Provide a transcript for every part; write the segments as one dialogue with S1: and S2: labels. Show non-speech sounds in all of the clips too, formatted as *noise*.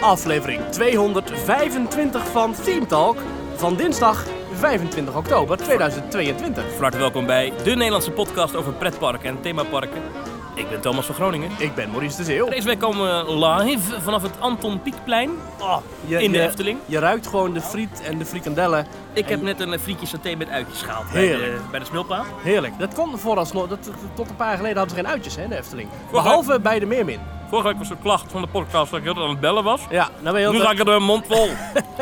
S1: aflevering 225 van Theme Talk van dinsdag 25 oktober 2022.
S2: Van harte welkom bij de Nederlandse podcast over pretparken en themaparken. Ik ben Thomas van Groningen.
S1: Ik ben Maurice de Zeeuw.
S2: Deze week komen we live vanaf het Anton Pieckplein
S1: Oh, je,
S2: in de
S1: je-
S2: Efteling.
S1: Je ruikt gewoon de friet en de frikandellen.
S2: Ik heb net een frietje saté met uitjes gehaald bij de,
S1: Heerlijk.
S2: bij de smulpaap.
S1: Heerlijk. Dat kon vooralsnog. Dat, dat- tot een paar jaar geleden hadden ze geen uitjes hè, in de Efteling.
S2: Wacht,
S1: Behalve bij de Meermin.
S2: Vorige week was de klacht van de podcast dat ik heel aan het bellen was.
S1: Ja, nou ben je heel
S2: Nu
S1: te-
S2: ga ik er de mond
S1: *laughs*
S2: vol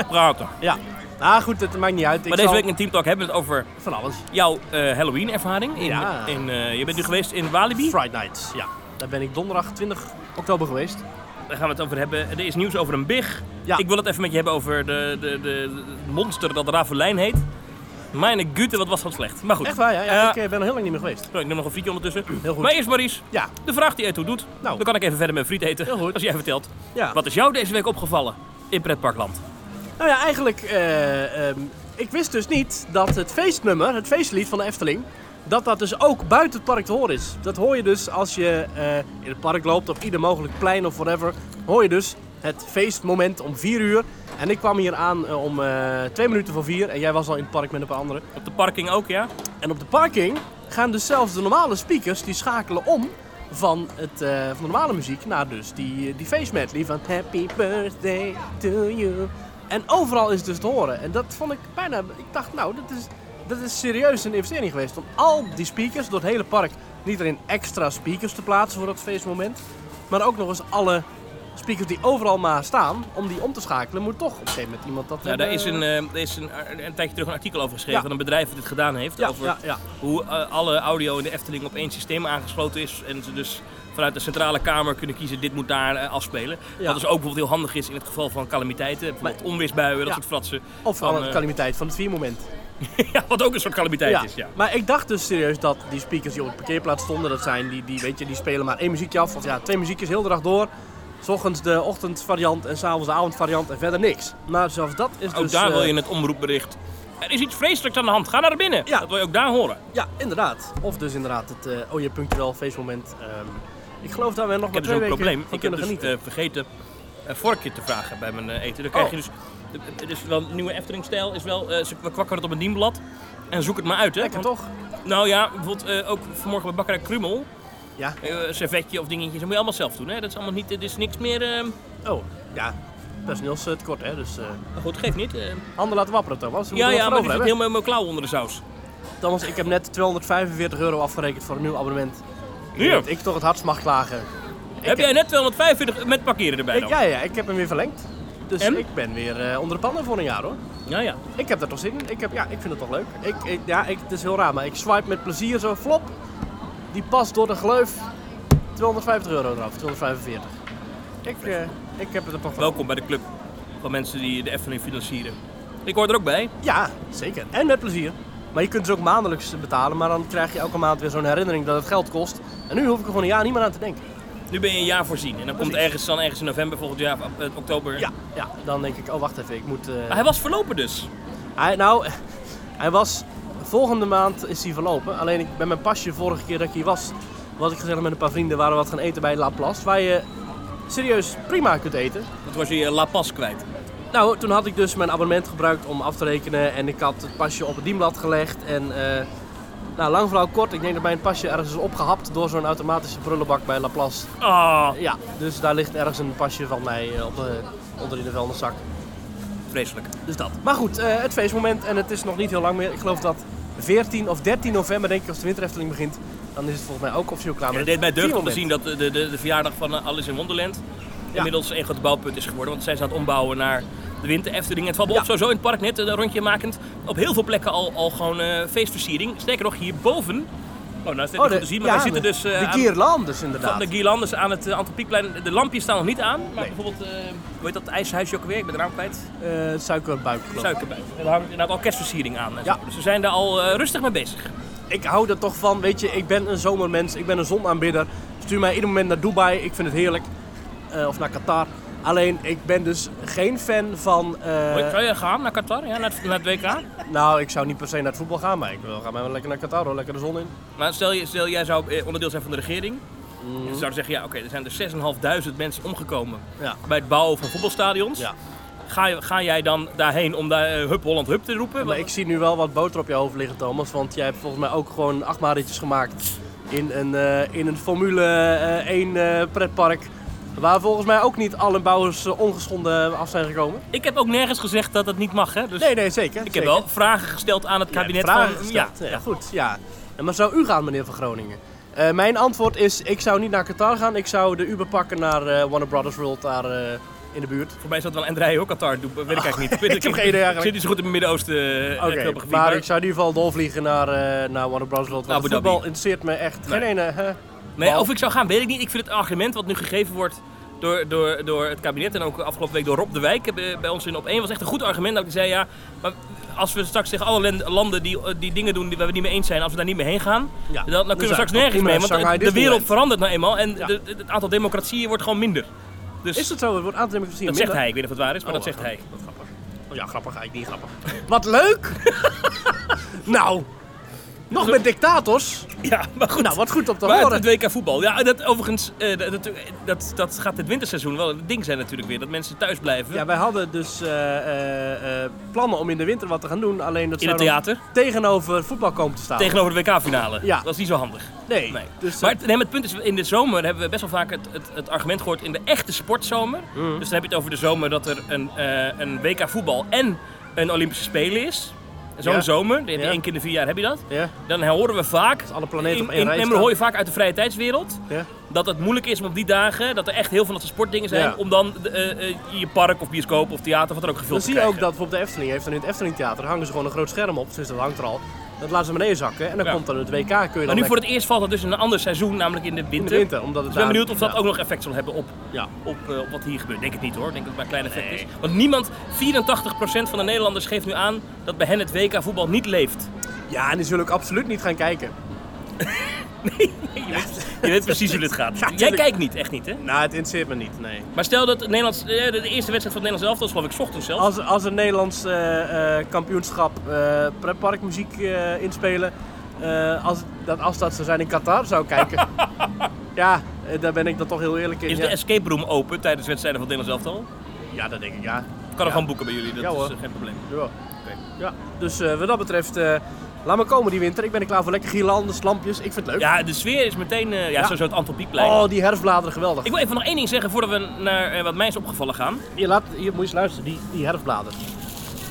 S2: praten.
S1: Ja. Ah, goed, het maakt niet uit. Ik
S2: Maar deze
S1: zal-
S2: week in Team Talk hebben we het over
S1: van alles.
S2: jouw eh, Halloween-ervaring. In,
S1: Ja.
S2: in, eh, je bent nu geweest in Walibi.
S1: Friday Nights, ja. Daar ben ik donderdag 20 oktober geweest.
S2: Daar gaan we het over hebben. Er is nieuws over een big.
S1: Ja.
S2: Ik wil het even met je hebben over de, de, de de monster dat Ravelijn heet. Mijn gute, wat was dat slecht. Maar goed.
S1: Echt waar, ja. ja,
S2: Eh,
S1: ik eh, ben er heel lang niet meer geweest.
S2: zo, ik neem nog een frietje ondertussen.
S1: Heel goed.
S2: Maar eerst Maurice,
S1: Ja,
S2: de vraag die Eto doet.
S1: Nou.
S2: Dan kan ik even verder met friet eten.
S1: Heel goed.
S2: Als jij vertelt.
S1: ja.
S2: Wat is jou deze week opgevallen in pretparkland?
S1: Nou ja, eigenlijk, eh, ehm, ik wist dus niet dat het feestnummer, het feestlied van de Efteling, dat dat dus ook buiten het park te horen is. Dat hoor je dus als je eh, in het park loopt, op ieder mogelijk plein of whatever, hoor je dus het feestmoment om 4 uur. En ik kwam hier aan eh, om eh, twee minuten voor vier en jij was al in het park met een paar anderen.
S2: Op de parking ook, ja?
S1: En op de parking gaan dus zelfs de normale speakers die schakelen om van, het, eh, van de normale muziek naar dus die, die feestmedley van Happy Birthday to you. En overal is het dus te horen. En dat vond ik bijna... Ik dacht, nou, dat is, dat is serieus een investering geweest. Om al die speakers door het hele park niet alleen extra speakers te plaatsen voor dat feestmoment, maar ook nog eens alle speakers die overal maar staan, om die om te schakelen, moet toch op een gegeven moment iemand dat
S2: Nou, daar
S1: hebben.
S2: is, een, eh, er is een, een tijdje terug een artikel over geschreven
S1: Ja.
S2: van een bedrijf dat dit gedaan heeft.
S1: Ja,
S2: eh, over
S1: ja, ja.
S2: hoe eh, alle audio in de Efteling op één systeem aangesloten is. En ze dus vanuit de centrale kamer kunnen kiezen, dit moet daar eh, afspelen.
S1: Ja.
S2: Dat is ook bijvoorbeeld heel handig is in het geval van calamiteiten. Bijvoorbeeld onweersbuien, dat
S1: Ja.
S2: soort fratsen. *laughs*
S1: Of
S2: Van,
S1: van de
S2: eh,
S1: calamiteit van het viermoment.
S2: ja, wat ook een soort calamiteit is, ja.
S1: Maar ik dacht dus serieus dat die speakers die op de parkeerplaats stonden, dat zijn die, die, weet je, die spelen maar één muziekje af. Of ja, twee muziekjes heel de dag door. 's ochtends de ochtendvariant en s'avonds de avondvariant en verder niks. Maar zelfs dat is
S2: Ook
S1: dus...
S2: daar
S1: eh,
S2: wil je het omroepbericht. Er is iets vreselijks aan de hand, ga naar binnen.
S1: Ja.
S2: Dat wil je ook daar horen. Ik
S1: Ja, inderdaad. Of dus inderdaad het eh oh je punctueel feestmoment. Ehm, ik geloof dat we nog maar
S2: heb dus
S1: twee
S2: een
S1: weken
S2: probleem.
S1: van
S2: Ik heb
S1: kunnen
S2: dus
S1: genieten.
S2: eh, vergeten een vorkje te vragen bij mijn eh, eten. Dan krijg je
S1: Oh.
S2: dus... Het is wel een nieuwe Efteling-stijl. Is wel, eh, ze- we kwakken het op een dienblad. En zoek het maar uit, hè.
S1: Lekker
S2: Want-
S1: toch?
S2: Nou ja, bijvoorbeeld eh, ook vanmorgen bij Bakkerij Krumel.
S1: Ja.
S2: Eh, servetje of dingetjes, dat moet je allemaal zelf doen. Hè? Dat is allemaal niet, dit is niks meer. eh,
S1: Oh, ja. Personeelstekort hè, dus eh,
S2: Maar goed, geeft niet. eh.
S1: handen laten wapperen Thomas. We
S2: ja,
S1: moeten wat voor
S2: ja, maar er
S1: over
S2: zit
S1: hebben.
S2: helemaal mijn klauw onder de saus.
S1: Thomas, ik heb net 245 euro afgerekend voor een nieuw abonnement. Ik
S2: Ja.
S1: denk dat Ik toch het hardst mag klagen.
S2: Heb jij net 245 met parkeren erbij
S1: Ik-
S2: dan?
S1: ja, ja, ik heb hem weer verlengd. Dus
S2: En?
S1: ik ben weer eh, onder de pannen voor een jaar hoor.
S2: ja, ja.
S1: Ik heb daar toch zin in. Ik, heb, ja, ik vind het toch leuk. Ik, ik- ja, ik, het is heel raar, maar ik swipe met plezier zo flop. Die past door de gleuf. 250 euro eraf, 245. Ik, eh, ik heb het er toch wel.
S2: Welkom bij de club van mensen die de Efteling financieren. Ik hoor er ook bij.
S1: Ja, zeker. En met plezier. Maar je kunt dus ook maandelijks betalen, maar dan krijg je elke maand weer zo'n herinnering dat het geld kost. En nu hoef ik er gewoon een jaar niet meer aan te denken.
S2: Nu ben je een jaar voorzien. En dan komt
S1: Precies.
S2: ergens, dan ergens in november volgend jaar, of, eh, oktober.
S1: Ja, ja. dan denk ik, oh wacht even, ik moet... eh,
S2: Maar hij was verlopen dus.
S1: Hij, nou, hij was. Volgende maand is hij verlopen. Alleen ik, bij mijn pasje vorige keer dat ik hier was, was ik gezellig met een paar vrienden. Waren we wat gaan eten bij La Place. Waar je serieus prima kunt eten.
S2: Dat was je je La Pas kwijt.
S1: Nou, toen had ik dus mijn abonnement gebruikt om af te rekenen. En ik had het pasje op het dienblad gelegd. En eh nou, lang verhaal kort. Ik denk dat mijn pasje ergens is opgehapt door zo'n automatische prullenbak bij La Place.
S2: Ah,
S1: Ja, dus daar ligt ergens een pasje van mij eh, op de, onder in de vuilniszak.
S2: vreselijk.
S1: Dus dat. Maar goed, eh, het feestmoment en het is nog niet heel lang meer. Ik geloof dat 14 of 13 november, denk ik, als de winterhefteling begint, dan is het volgens mij ook officieel klaar.
S2: Ja,
S1: Maar
S2: het deed mij deugd om te
S1: feestmoment.
S2: zien dat de, de, de verjaardag van eh, Alice in Wonderland inmiddels een groot bouwpunt is geworden. Want zij zijn aan het ombouwen naar de winter Efteling. En het valt me
S1: Ja.
S2: op, sowieso in het park net een rondje makend. Op heel veel plekken al, al gewoon eh, feestversiering. Sterker nog, hierboven. Oh, nou is het niet
S1: de-
S2: goed te zien, maar
S1: ja,
S2: wij zitten dus eh,
S1: de
S2: aan-
S1: guirlandes
S2: van
S1: inderdaad.
S2: de guirlandes aan het eh, Anton Pieckplein. De lampjes staan nog niet aan. Maar
S1: Nee.
S2: bijvoorbeeld, eh, hoe heet dat ijshuisje ook weer? Ik ben de naam kwijt.
S1: Eh, suikerbuik. geloof ik.
S2: Suikerbuik. En daar hangt inderdaad orkestversiering aan. en
S1: Ja.
S2: zo. Dus we zijn daar al eh, rustig mee bezig.
S1: Ik hou er toch van, weet je, ik ben een zomermens, ik ben een zonaanbidder. Stuur mij ieder moment naar Dubai, ik vind het heerlijk. Eh, of naar Qatar. Alleen, ik ben dus geen fan van... eh,
S2: Hoi, Zou je gaan naar Qatar? Ja, naar, het, naar het WK?
S1: nou, ik zou niet per se naar het voetbal gaan, maar ik wil, ga maar wel lekker naar Qatar hoor, lekker de zon in.
S2: Maar stel, je, stel jij zou eh, onderdeel zijn van de regering.
S1: Mhm.
S2: Je zou zeggen, ja, oké, er zijn er 6.500 mensen omgekomen
S1: Ja.
S2: bij het bouwen van voetbalstadions.
S1: Ja.
S2: Ga, je- ga jij dan daarheen om daar eh, Hup Holland Hup te roepen?
S1: Maar ik zie nu wel wat boter op je hoofd liggen, Thomas. Want jij hebt volgens mij ook gewoon acht maandjes gemaakt in een, eh, in een Formule eh, 1 eh, pretpark. Waar volgens mij ook niet alle bouwers eh, ongeschonden af zijn gekomen.
S2: Ik heb ook nergens gezegd dat het niet mag, hè? Dus
S1: Nee, nee, zeker.
S2: ik heb wel vragen gesteld aan het kabinet.
S1: vragen
S2: van,
S1: gesteld.
S2: Ja,
S1: Ja, goed. Ja. En maar zou u gaan, meneer van Groningen? Eh, mijn antwoord is, ik zou niet naar Qatar gaan. Ik zou de Uber pakken naar eh Warner Brothers World daar eh, in de buurt.
S2: Voor mij zat wel Andrei ook Qatar, doe- weet ik eigenlijk niet. Weet
S1: *laughs* ik heb geen idee
S2: Ik
S1: eigenlijk.
S2: zit niet zo goed in het Midden-Oosten. eh,
S1: Oké,
S2: eh, geografie,
S1: maar
S2: maar-
S1: ik zou in ieder geval doorvliegen naar, eh naar Warner Brothers World. Want
S2: Abu Dhabi.
S1: voetbal interesseert me echt geen ene. hè.
S2: Nee, of ik zou gaan, weet ik niet. Ik vind het argument wat nu gegeven wordt door, door, door het kabinet en ook afgelopen week door Rob de Wijk eh, bij ons in op één was echt een goed argument. Dat hij zei, ja, maar als we straks tegen alle len- landen die, eh, die dingen doen die waar we niet mee eens zijn, als we daar niet mee heen gaan,
S1: Ja,
S2: dan, dan
S1: dan
S2: kunnen we
S1: zijn
S2: straks
S1: we
S2: nergens
S1: prima
S2: mee. Want
S1: Shanghai
S2: de- de wereld
S1: Disneyland.
S2: verandert nou eenmaal en
S1: Ja.
S2: de- de- het aantal democratieën wordt gewoon minder. Dus
S1: Is dat zo? Het wordt aantal democratieën
S2: dat zegt
S1: minder.
S2: hij, ik weet niet of het waar is, maar
S1: Oh,
S2: dat zegt hij.
S1: Wat grappig. Oh ja, grappig eigenlijk niet grappig. Wat leuk! nou, nog met dictators.
S2: *laughs* Ja, maar goed.
S1: Nou, wat goed om te
S2: Maar het,
S1: horen.
S2: het WK voetbal. Ja, dat overigens, eh, dat, dat, dat, dat gaat dit winterseizoen wel een ding zijn natuurlijk weer. Dat mensen thuis blijven.
S1: Ja, wij hadden dus eh, eh, eh, plannen om in de winter wat te gaan doen. Alleen dat
S2: in het
S1: zou dan
S2: theater.
S1: tegenover voetbal komen te staan.
S2: Tegenover de WK-finale.
S1: Ja.
S2: Dat is niet zo handig.
S1: Nee.
S2: Nee.
S1: Dus, eh,
S2: maar het, nee, maar het punt is, in de zomer hebben we best wel vaak het, het, het argument gehoord in de echte sportzomer.
S1: Mhm.
S2: Dus dan heb je het over de zomer dat er een, eh, een WK voetbal en een Olympische Spelen is. Zo'n
S1: Ja.
S2: zomer, die heb je
S1: Ja.
S2: één keer in de vier jaar heb je dat.
S1: eh, ja,
S2: Dan horen we vaak,
S1: alle planeten
S2: in,
S1: op één
S2: in-
S1: rij
S2: en
S1: staan.
S2: hoor je vaak uit de vrije tijdswereld,
S1: ja.
S2: dat het moeilijk is om op die dagen, dat er echt heel veel van dat soort sportdingen zijn,
S1: Ja.
S2: om dan eh, eh, je park of bioscoop of theater of wat er ook
S1: Dan
S2: gevuld te
S1: zie je ook
S2: krijgen.
S1: dat bijvoorbeeld de Efteling heeft. En in het Efteling Theater hangen ze gewoon een groot scherm op. Dus dat hangt er al. Dat laten ze beneden zakken. En dan
S2: Ja.
S1: komt dan het WK. Kun je dan
S2: Maar nu
S1: lekker
S2: voor het eerst valt dat dus in een ander seizoen, namelijk in de
S1: in
S2: winter.
S1: de winter. Omdat het
S2: Dus ik ben
S1: daar-
S2: benieuwd of dat
S1: ja.
S2: ook nog effect zal hebben op,
S1: Ja.
S2: op, eh, op wat hier gebeurt. Denk het niet hoor, Ik denk dat het maar een klein effect
S1: Nee.
S2: is. Want niemand, 84% van de Nederlanders geeft nu aan dat bij hen het WK voetbal niet leeft.
S1: ja, en die zullen ook absoluut niet gaan kijken.
S2: Je weet, je weet precies hoe dit
S1: *laughs*
S2: gaat. Jij
S1: tuurlijk.
S2: kijkt niet, echt niet hè?
S1: Nou, het interesseert me niet. Nee.
S2: Maar stel dat het Nederlands, eh, de de eerste wedstrijd van het Nederlands elftal is geloof ik 's ochtends zelfs.
S1: Als, als een Nederlands eh, eh, kampioenschap eh pretparkmuziek eh, inspelen, eh, als, dat, als dat zou zijn in Qatar, zou ik
S2: *laughs*
S1: kijken. ja, eh, daar ben ik dan toch heel eerlijk in.
S2: Is
S1: ja.
S2: de escape room open tijdens wedstrijden van het Nederlands elftal?
S1: ja, dat denk ik, ja.
S2: Ik kan er gewoon boeken bij jullie, dat
S1: Ja,
S2: is
S1: hoor.
S2: eh, geen probleem.
S1: Ja, ja. dus eh, wat dat betreft, eh, laat me komen die winter. Ik ben er klaar voor lekker girlandes, lampjes, ik vind het leuk.
S2: Ja, de sfeer is meteen, eh, ja,
S1: Ja.
S2: sowieso het Anton Pieckplein.
S1: Oh, die herfstbladeren, geweldig.
S2: Ik wil even nog één ding zeggen voordat we naar eh, wat mij is opgevallen gaan.
S1: Je, laat, je moet je eens luisteren, die, die herfstbladeren.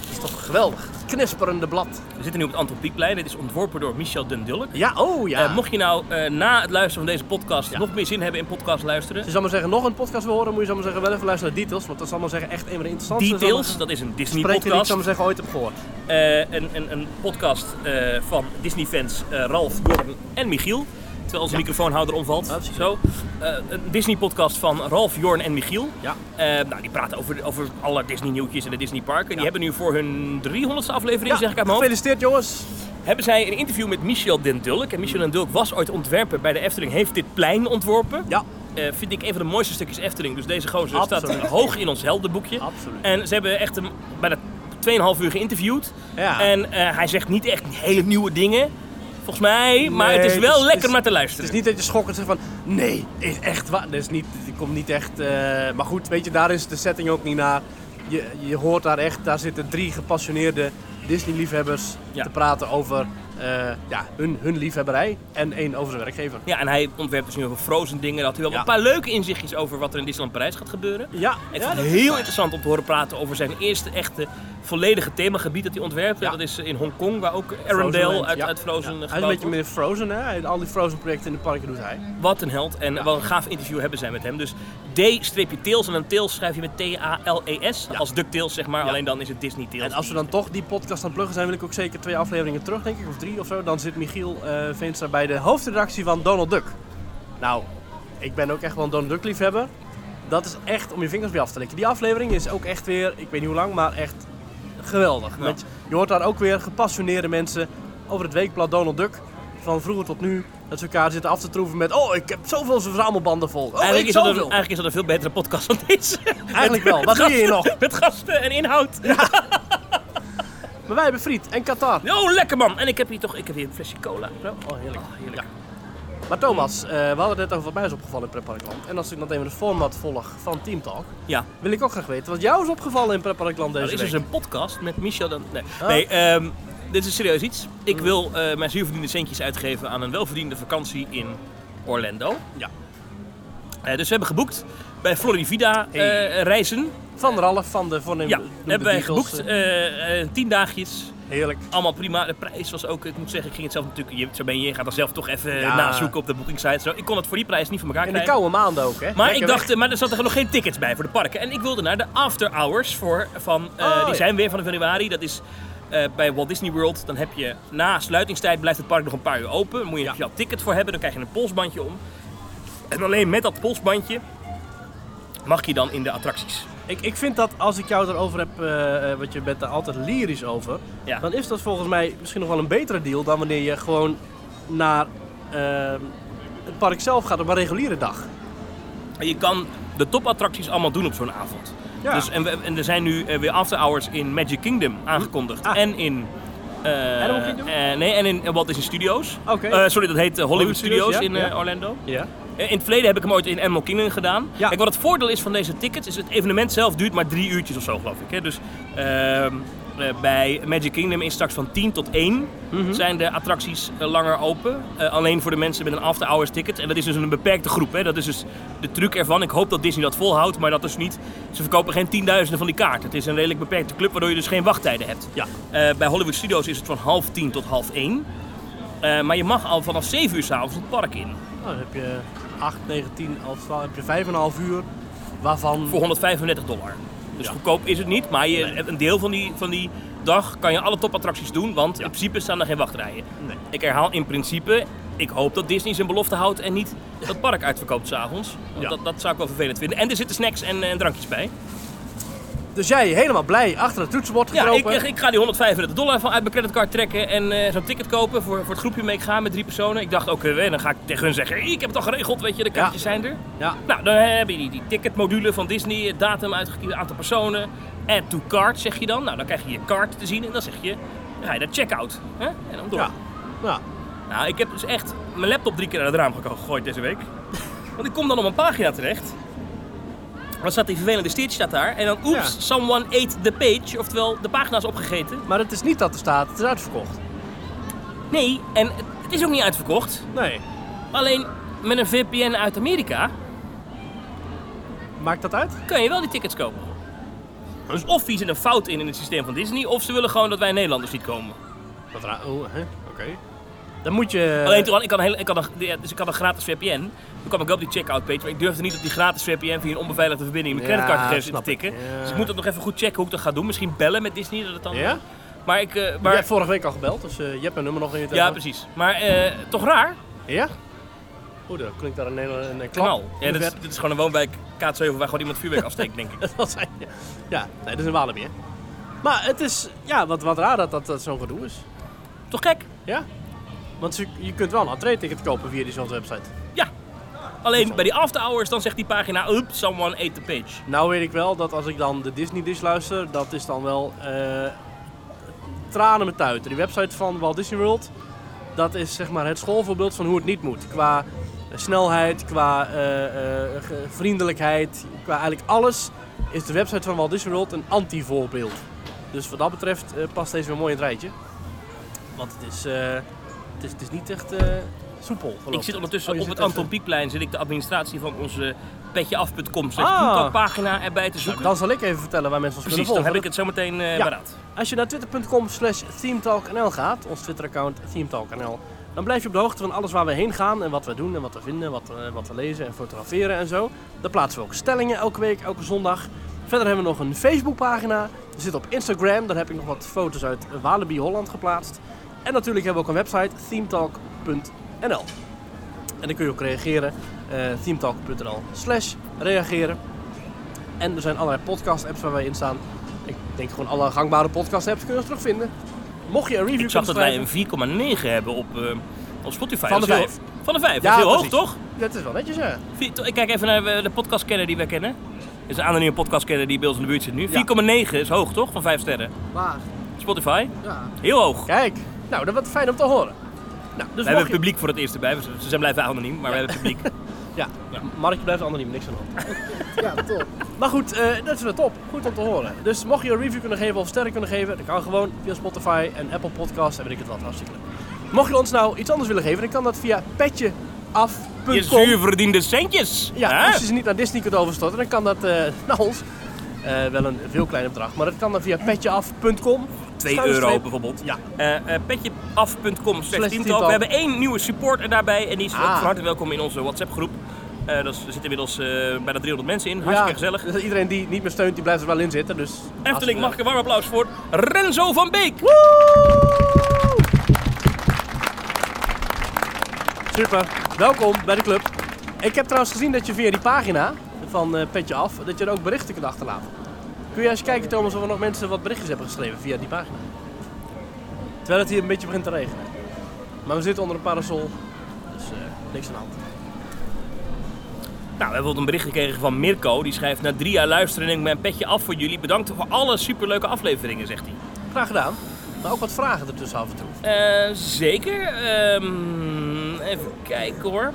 S1: Dat is toch geweldig. Het knisperende blad.
S2: We zitten nu op het Anton Pieckplein. Dit is ontworpen door Michel Dundulk.
S1: Ja, oh ja.
S2: Eh, mocht je nou eh, na het luisteren van deze podcast nog meer zin hebben in podcast luisteren.
S1: Als je zal maar zeggen nog een podcast wil horen, moet je zal maar zeggen wel even luisteren naar Details. Want dat is allemaal zeggen echt een van de interessantste.
S2: Details, dat is een Disney
S1: Spreekt die ik
S2: podcast.
S1: zal maar zeggen ooit heb gehoord.
S2: Eh, een, een, een podcast eh, van Disney fans eh, Ralf, Jorn en Michiel. Terwijl onze microfoonhouder omvalt.
S1: Ja, precies.
S2: Zo. Eh, een Disney podcast van Ralf, Jorn en Michiel.
S1: Ja.
S2: Eh, nou, die praten over, over alle Disney nieuwtjes en de Disney parken. Die
S1: Ja.
S2: hebben nu voor hun 300ste aflevering, zeg ik uit mijn hoofd.
S1: gefeliciteerd jongens.
S2: hebben zij een interview met Michel Den Dulk. En Michel Den Dulk was ooit ontwerper bij de Efteling, heeft dit plein ontworpen.
S1: Ja.
S2: Eh, vind ik een van de mooiste stukjes Efteling. Dus deze gozer
S1: Absoluut.
S2: staat hoog in ons heldenboekje.
S1: Absoluut.
S2: En ze hebben echt hem bijna 2,5 uur geïnterviewd.
S1: Ja.
S2: En eh, hij zegt niet echt hele nieuwe dingen, volgens mij. maar het is wel lekker om naar te luisteren.
S1: Het is niet dat je schokkend zegt van, nee, is echt waar. Dat is niet, die komt niet echt... eh, maar goed, weet je, daar is de setting ook niet naar. Je, je hoort daar echt, daar zitten drie gepassioneerde Disney-liefhebbers
S2: Ja.
S1: te praten over eh, ja, hun, hun liefhebberij. En één over zijn werkgever.
S2: Ja, en hij ontwerpt dus nu heel veel Frozen dingen. Daar had hij wel
S1: Ja.
S2: een paar leuke inzichtjes over wat er in Disneyland Parijs gaat gebeuren.
S1: Ja,
S2: Ik
S1: ja,
S2: vond
S1: dat
S2: het
S1: is
S2: heel
S1: waar.
S2: interessant om te horen praten over zijn eerste echte volledige themagebied dat hij ontwerpt.
S1: Ja.
S2: Dat is in Hongkong, waar ook
S1: Frozenland,
S2: Arendelle uit,
S1: ja.
S2: uit Frozen
S1: Ja.
S2: gebouwd
S1: Hij is een beetje
S2: wordt.
S1: meer Frozen, hè? Hij- Al die Frozen-projecten in de parken doet hij.
S2: Wat een held. En wat een gaaf interview hebben zij met hem. Dus D-tails en dan tails schrijf je met T-A-L-E-S. E Als DuckTales zeg maar, alleen dan is het Disney Tails.
S1: En als we dan toch die podcast aan het pluggen zijn, wil ik ook zeker twee afleveringen terug, denk ik, of drie of zo. Dan zit Michiel eh Veenstra bij de hoofdredactie van Donald Duck. Nou, ik ben ook echt wel een Donald Duck liefhebber. Dat is echt om je vingers bij af te likken. Die aflevering is ook echt weer, ik weet niet hoe lang, maar echt geweldig.
S2: Ja.
S1: Want je hoort daar ook weer gepassioneerde mensen over het weekblad Donald Duck. Van vroeger tot nu, dat ze elkaar zitten af te troeven met... Oh, ik heb zoveel verzamelbanden vol. Oh,
S2: Eigenlijk
S1: ik
S2: is, dat een,
S1: zoveel.
S2: eigenlijk is dat een veel betere podcast dan deze. *laughs*
S1: Eigenlijk wel. Wat doe je hier nog?
S2: Met gasten en inhoud.
S1: Maar wij hebben friet en Qatar.
S2: Oh, lekker man. En ik heb hier toch ik heb hier een flesje cola. Zo.
S1: Oh, heerlijk.
S2: heerlijk.
S1: Ja. Maar Thomas, eh, we hadden het net over wat mij is opgevallen in Pretparkland. En als ik nog even het format volg van Team Talk,
S2: Ja.
S1: wil ik ook graag weten wat jou is opgevallen in Pretparkland
S2: Er
S1: deze
S2: is
S1: week.
S2: dus een podcast met Michel dan. Nee,
S1: Oh. Mm.
S2: nee ehm, dit is serieus iets. Ik wil eh, mijn zuurverdiende centjes uitgeven aan een welverdiende vakantie in Orlando.
S1: Ja.
S2: Eh, dus we hebben geboekt bij Florivida eh,
S1: Hey.
S2: reizen.
S1: Van Ralf van de voornemen.
S2: Ja,
S1: Doe de
S2: hebben wij
S1: Beatles,
S2: geboekt.
S1: eh,
S2: eh, eh, tien dagjes.
S1: heerlijk.
S2: Allemaal prima. De prijs was ook, ik moet zeggen, ik ging het zelf natuurlijk, je, zo ben je, je gaat dan zelf toch even
S1: Ja.
S2: nazoeken op de boekingsite. Zo. Ik kon het voor die prijs niet van elkaar
S1: In de
S2: krijgen.
S1: koude maanden ook, hè?
S2: Maar
S1: Lekker
S2: ik
S1: weg.
S2: dacht, eh, maar er zaten nog geen tickets bij voor de parken. En ik wilde naar de after hours voor, van, eh,
S1: Oh,
S2: die
S1: ja.
S2: zijn weer vanaf januari. Dat is eh, bij Walt Disney World. Dan heb je na sluitingstijd blijft het park nog een paar uur open. Dan moet je heb je al ticket voor hebben. Dan krijg je een polsbandje om. En alleen met dat polsbandje mag je dan in de attracties.
S1: Ik, ik vind dat als ik jou erover heb, eh, eh, want je bent daar altijd lyrisch over,
S2: Ja.
S1: dan is dat volgens mij misschien nog wel een betere deal dan wanneer je gewoon naar eh, het park zelf gaat op een reguliere dag.
S2: En je kan de topattracties allemaal doen op zo'n avond.
S1: Ja.
S2: Dus, en, we- en er zijn nu eh, weer after hours in Magic Kingdom aangekondigd.
S1: Ah.
S2: En in... eh,
S1: Animal Kingdom?
S2: eh, nee, en in Walt Disney Studios.
S1: Oké.
S2: Eh, sorry, dat heet eh, Hollywood
S1: Hollywood
S2: Studios,
S1: Studios, ja,
S2: in eh,
S1: ja.
S2: Orlando.
S1: Ja.
S2: Eh, In het verleden heb ik hem ooit in Animal Kingdom gedaan.
S1: Ja.
S2: Kijk, wat het voordeel is van deze tickets, is het evenement zelf duurt maar drie uurtjes of zo, geloof ik. Hè? Dus ehm, eh, bij Magic Kingdom is straks van 10 tot 1 zijn de attracties eh, langer open. Eh, alleen voor de mensen met een after hours ticket. En dat is dus een beperkte groep. Hè? Dat is dus de truc ervan. Ik hoop dat Disney dat volhoudt, maar dat is niet. Ze verkopen geen tienduizenden van die kaarten. Het is een redelijk beperkte club, waardoor je dus geen wachttijden hebt.
S1: Ja.
S2: Eh, bij Hollywood Studios is het van half tien tot half één. Eh, maar je mag al vanaf 7 uur s'avonds het park in.
S1: Nou, dan heb je 8, 9, 10, 11, 12, heb je 5,5 uur waarvan...
S2: voor 135 dollar. Dus
S1: Ja.
S2: goedkoop is het niet, maar je, een deel van die, van die dag kan je alle topattracties doen, want in principe staan er geen wachtrijen.
S1: Nee.
S2: Ik herhaal in principe, ik hoop dat Disney zijn belofte houdt en niet dat park uitverkoopt s'avonds. Want
S1: Ja.
S2: Dat, dat zou ik wel vervelend vinden. En er zitten snacks en, eh, en drankjes bij.
S1: Dus jij helemaal blij achter het toetsenbord
S2: Ja, ik,
S1: gekropen.
S2: ik ga die 135 dollar van uit mijn creditcard trekken en eh, zo'n ticket kopen voor, voor het groepje mee ik ga met drie personen. Ik dacht, oké, eh, dan ga ik tegen hun zeggen, ik heb het al geregeld, weet je, de kaartjes zijn er.
S1: Ja.
S2: Nou, dan heb je die, die ticketmodule van Disney, het datum uitgekiend, aantal personen. Add to cart zeg je dan. Nou, dan krijg je je kaart te zien en dan zeg je, dan ga je naar checkout. Hè? En dan door.
S1: Ja. Ja.
S2: Nou, ik heb dus echt mijn laptop drie keer uit het raam geko- gegooid deze week. Want ik kom dan op een pagina terecht. Dan staat die vervelende Stitch staat daar. En dan, oeps,
S1: Ja.
S2: someone ate the page. Oftewel, de pagina is opgegeten.
S1: Maar het is niet dat er staat, het is uitverkocht.
S2: Nee, en het- het is ook niet uitverkocht.
S1: Nee.
S2: Alleen, met een VPN uit Amerika
S1: Maakt dat uit?
S2: kan je wel die tickets kopen. Dus of hier zit een fout in in het systeem van Disney, of ze willen gewoon dat wij Nederlanders niet komen.
S1: Dat ra- oh, hè? Oké. Dan moet je...
S2: Alleen toen, ik had, een hele, ik had een, ja, dus ik had een gratis VPN. Toen kwam ik wel op die checkout page, maar ik durfde niet op die gratis VPN via een onbeveiligde verbinding mijn
S1: Ja,
S2: creditcardgegevens in te
S1: snap ik.
S2: tikken.
S1: Ja.
S2: Dus ik moet dat nog even goed checken hoe ik dat ga doen. Misschien bellen met Disney. Dat het dan...
S1: Ja?
S2: Maar ik, eh,
S1: Maar...
S2: maar,
S1: Jij hebt vorige week al gebeld, dus eh, je hebt mijn nummer nog in je
S2: ja,
S1: telefoon.
S2: precies. Maar eh, toch raar?
S1: Ja? Oeh, dan klinkt daar een, hele- een, een klap.
S2: Knal. Ja,
S1: In
S2: dit,
S1: de
S2: is,
S1: verte.
S2: dit is gewoon een woonwijk Kaatsheuvel waar gewoon iemand vuurwerk afsteekt, denk ik.
S1: *laughs* Dat zijn, ja. ja, nee, dat is een Walibi, hè? Maar het is, ja, wat, wat raar dat dat, dat zo'n gedoe is.
S2: Toch gek?
S1: Ja? Want je, je kunt wel een entree-ticket kopen via diezelfde website.
S2: Ja. Alleen bij die after hours dan zegt die pagina, oep, someone ate the page.
S1: Nou weet ik wel dat als ik dan de Disney Dish luister, dat is dan wel eh, tranen met tuiten. Die website van Walt Disney World, dat is zeg maar het schoolvoorbeeld van hoe het niet moet. Qua eh, snelheid, qua eh, eh, ge- vriendelijkheid, qua eigenlijk alles is de website van Walt Disney World een anti-voorbeeld. Dus wat dat betreft eh, past deze weer mooi in het rijtje. Want het is, eh, het is, het is niet echt eh, soepel.
S2: Ik
S1: voorlopig.
S2: zit ondertussen
S1: Oh, je
S2: op
S1: zit
S2: het
S1: even-
S2: Anton Pieckplein zit ik de administratie van onze petjeaf.com
S1: Ah.
S2: slash pagina erbij te
S1: Nou,
S2: zoeken.
S1: dan zal ik even vertellen waar mensen ons
S2: Precies, dan
S1: kunnen volgen.
S2: heb ik het zo meteen eh
S1: Ja.
S2: paraat.
S1: Als je naar twitter.com slash themetalknl gaat, ons Twitter-account themetalknl, dan blijf je op de hoogte van alles waar we heen gaan en wat we doen en wat we vinden, wat, eh, wat we lezen en fotograferen en zo. Daar plaatsen we ook stellingen elke week, elke zondag. Verder hebben we nog een Facebookpagina. We zitten op Instagram, daar heb ik nog wat foto's uit Walibi Holland geplaatst. En natuurlijk hebben we ook een website, themetalk.nl. En dan kun je ook reageren, eh themetalk.nl slash reageren. En er zijn allerlei podcast-apps waar wij in staan. Ik denk gewoon alle gangbare podcast-apps kun je ons terugvinden. Mocht je een review
S2: Ik zag dat
S1: kunnen
S2: wij een 4,9 hebben op, eh, op Spotify.
S1: Van
S2: Dat
S1: de
S2: is heel-
S1: vijf.
S2: Van de
S1: Ja,
S2: 5, dat is heel hoog
S1: precies.
S2: toch?
S1: schrijven. Dat is wel netjes, hè?
S2: Vier- to- Ik kijk even naar eh, de podcastkenner die wij kennen. Dat is een anonieme podcastkenner die bij ons in de buurt zit nu. 4,9 is hoog toch? Van 5 sterren.
S1: Waar?
S2: Spotify,
S1: Ja.
S2: heel hoog.
S1: Kijk, nou, dat wordt fijn om te horen. Nou, dus
S2: we hebben
S1: mocht
S2: het
S1: je...
S2: publiek voor het eerst erbij. We- Ze zijn blijven anoniem, maar we hebben
S1: *laughs*
S2: publiek.
S1: Ja,
S2: Ja.
S1: Mark, je blijft anoniem, niks aan de hand.
S3: Ja, top.
S1: Maar goed, eh, dat is wel top. Goed om te horen. Dus mocht je een review kunnen geven of sterren kunnen geven, dat kan gewoon via Spotify en Apple Podcasts en weet ik het wat. Hartstikke leuk. Mocht je ons nou iets anders willen geven, dan kan dat via
S2: Je
S1: petjeaf.com.
S2: zuur verdiende centjes.
S1: Ja,
S2: Hè?
S1: als je ze niet naar Disney kunt overstorten, dan kan dat eh naar ons. Eh, wel een veel kleiner bedrag, maar dat kan dan via petjeaf.com.
S2: 2
S1: Schuinstreep.
S2: euro bijvoorbeeld.
S1: Ja.
S2: Eh, eh, Petjeaf.com slash
S1: Slash
S2: tientalk.
S1: tientalk.
S2: We hebben één nieuwe supporter daarbij en die is ook
S1: Ah.
S2: van harte welkom in onze WhatsApp groep. Eh dat is- er zitten inmiddels eh, bijna 300 mensen in. Hartstikke gezellig.
S1: dus iedereen die niet meer steunt, die blijft er wel in zitten. Dus
S2: Efteling,
S1: hartstikke
S2: mag ik een warm applaus voor Renzo van Beek.
S1: Super, welkom bij de club. Ik heb trouwens gezien dat je via die pagina van eh, Petje Af, dat je er ook berichten kunt achterlaten. Kun je eens kijken Thomas of er nog mensen wat berichtjes hebben geschreven via die pagina? Terwijl het hier een beetje begint te regenen. Maar we zitten onder een parasol, dus eh, niks aan de hand.
S2: Nou, we hebben een bericht gekregen van Mirko. Die schrijft, na drie jaar luisteren neem ik mijn petje af voor jullie. Bedankt voor alle superleuke afleveringen, zegt hij.
S1: Graag gedaan, maar ook wat vragen ertussen af en toe.
S2: Eh, zeker. Ehm, even kijken hoor.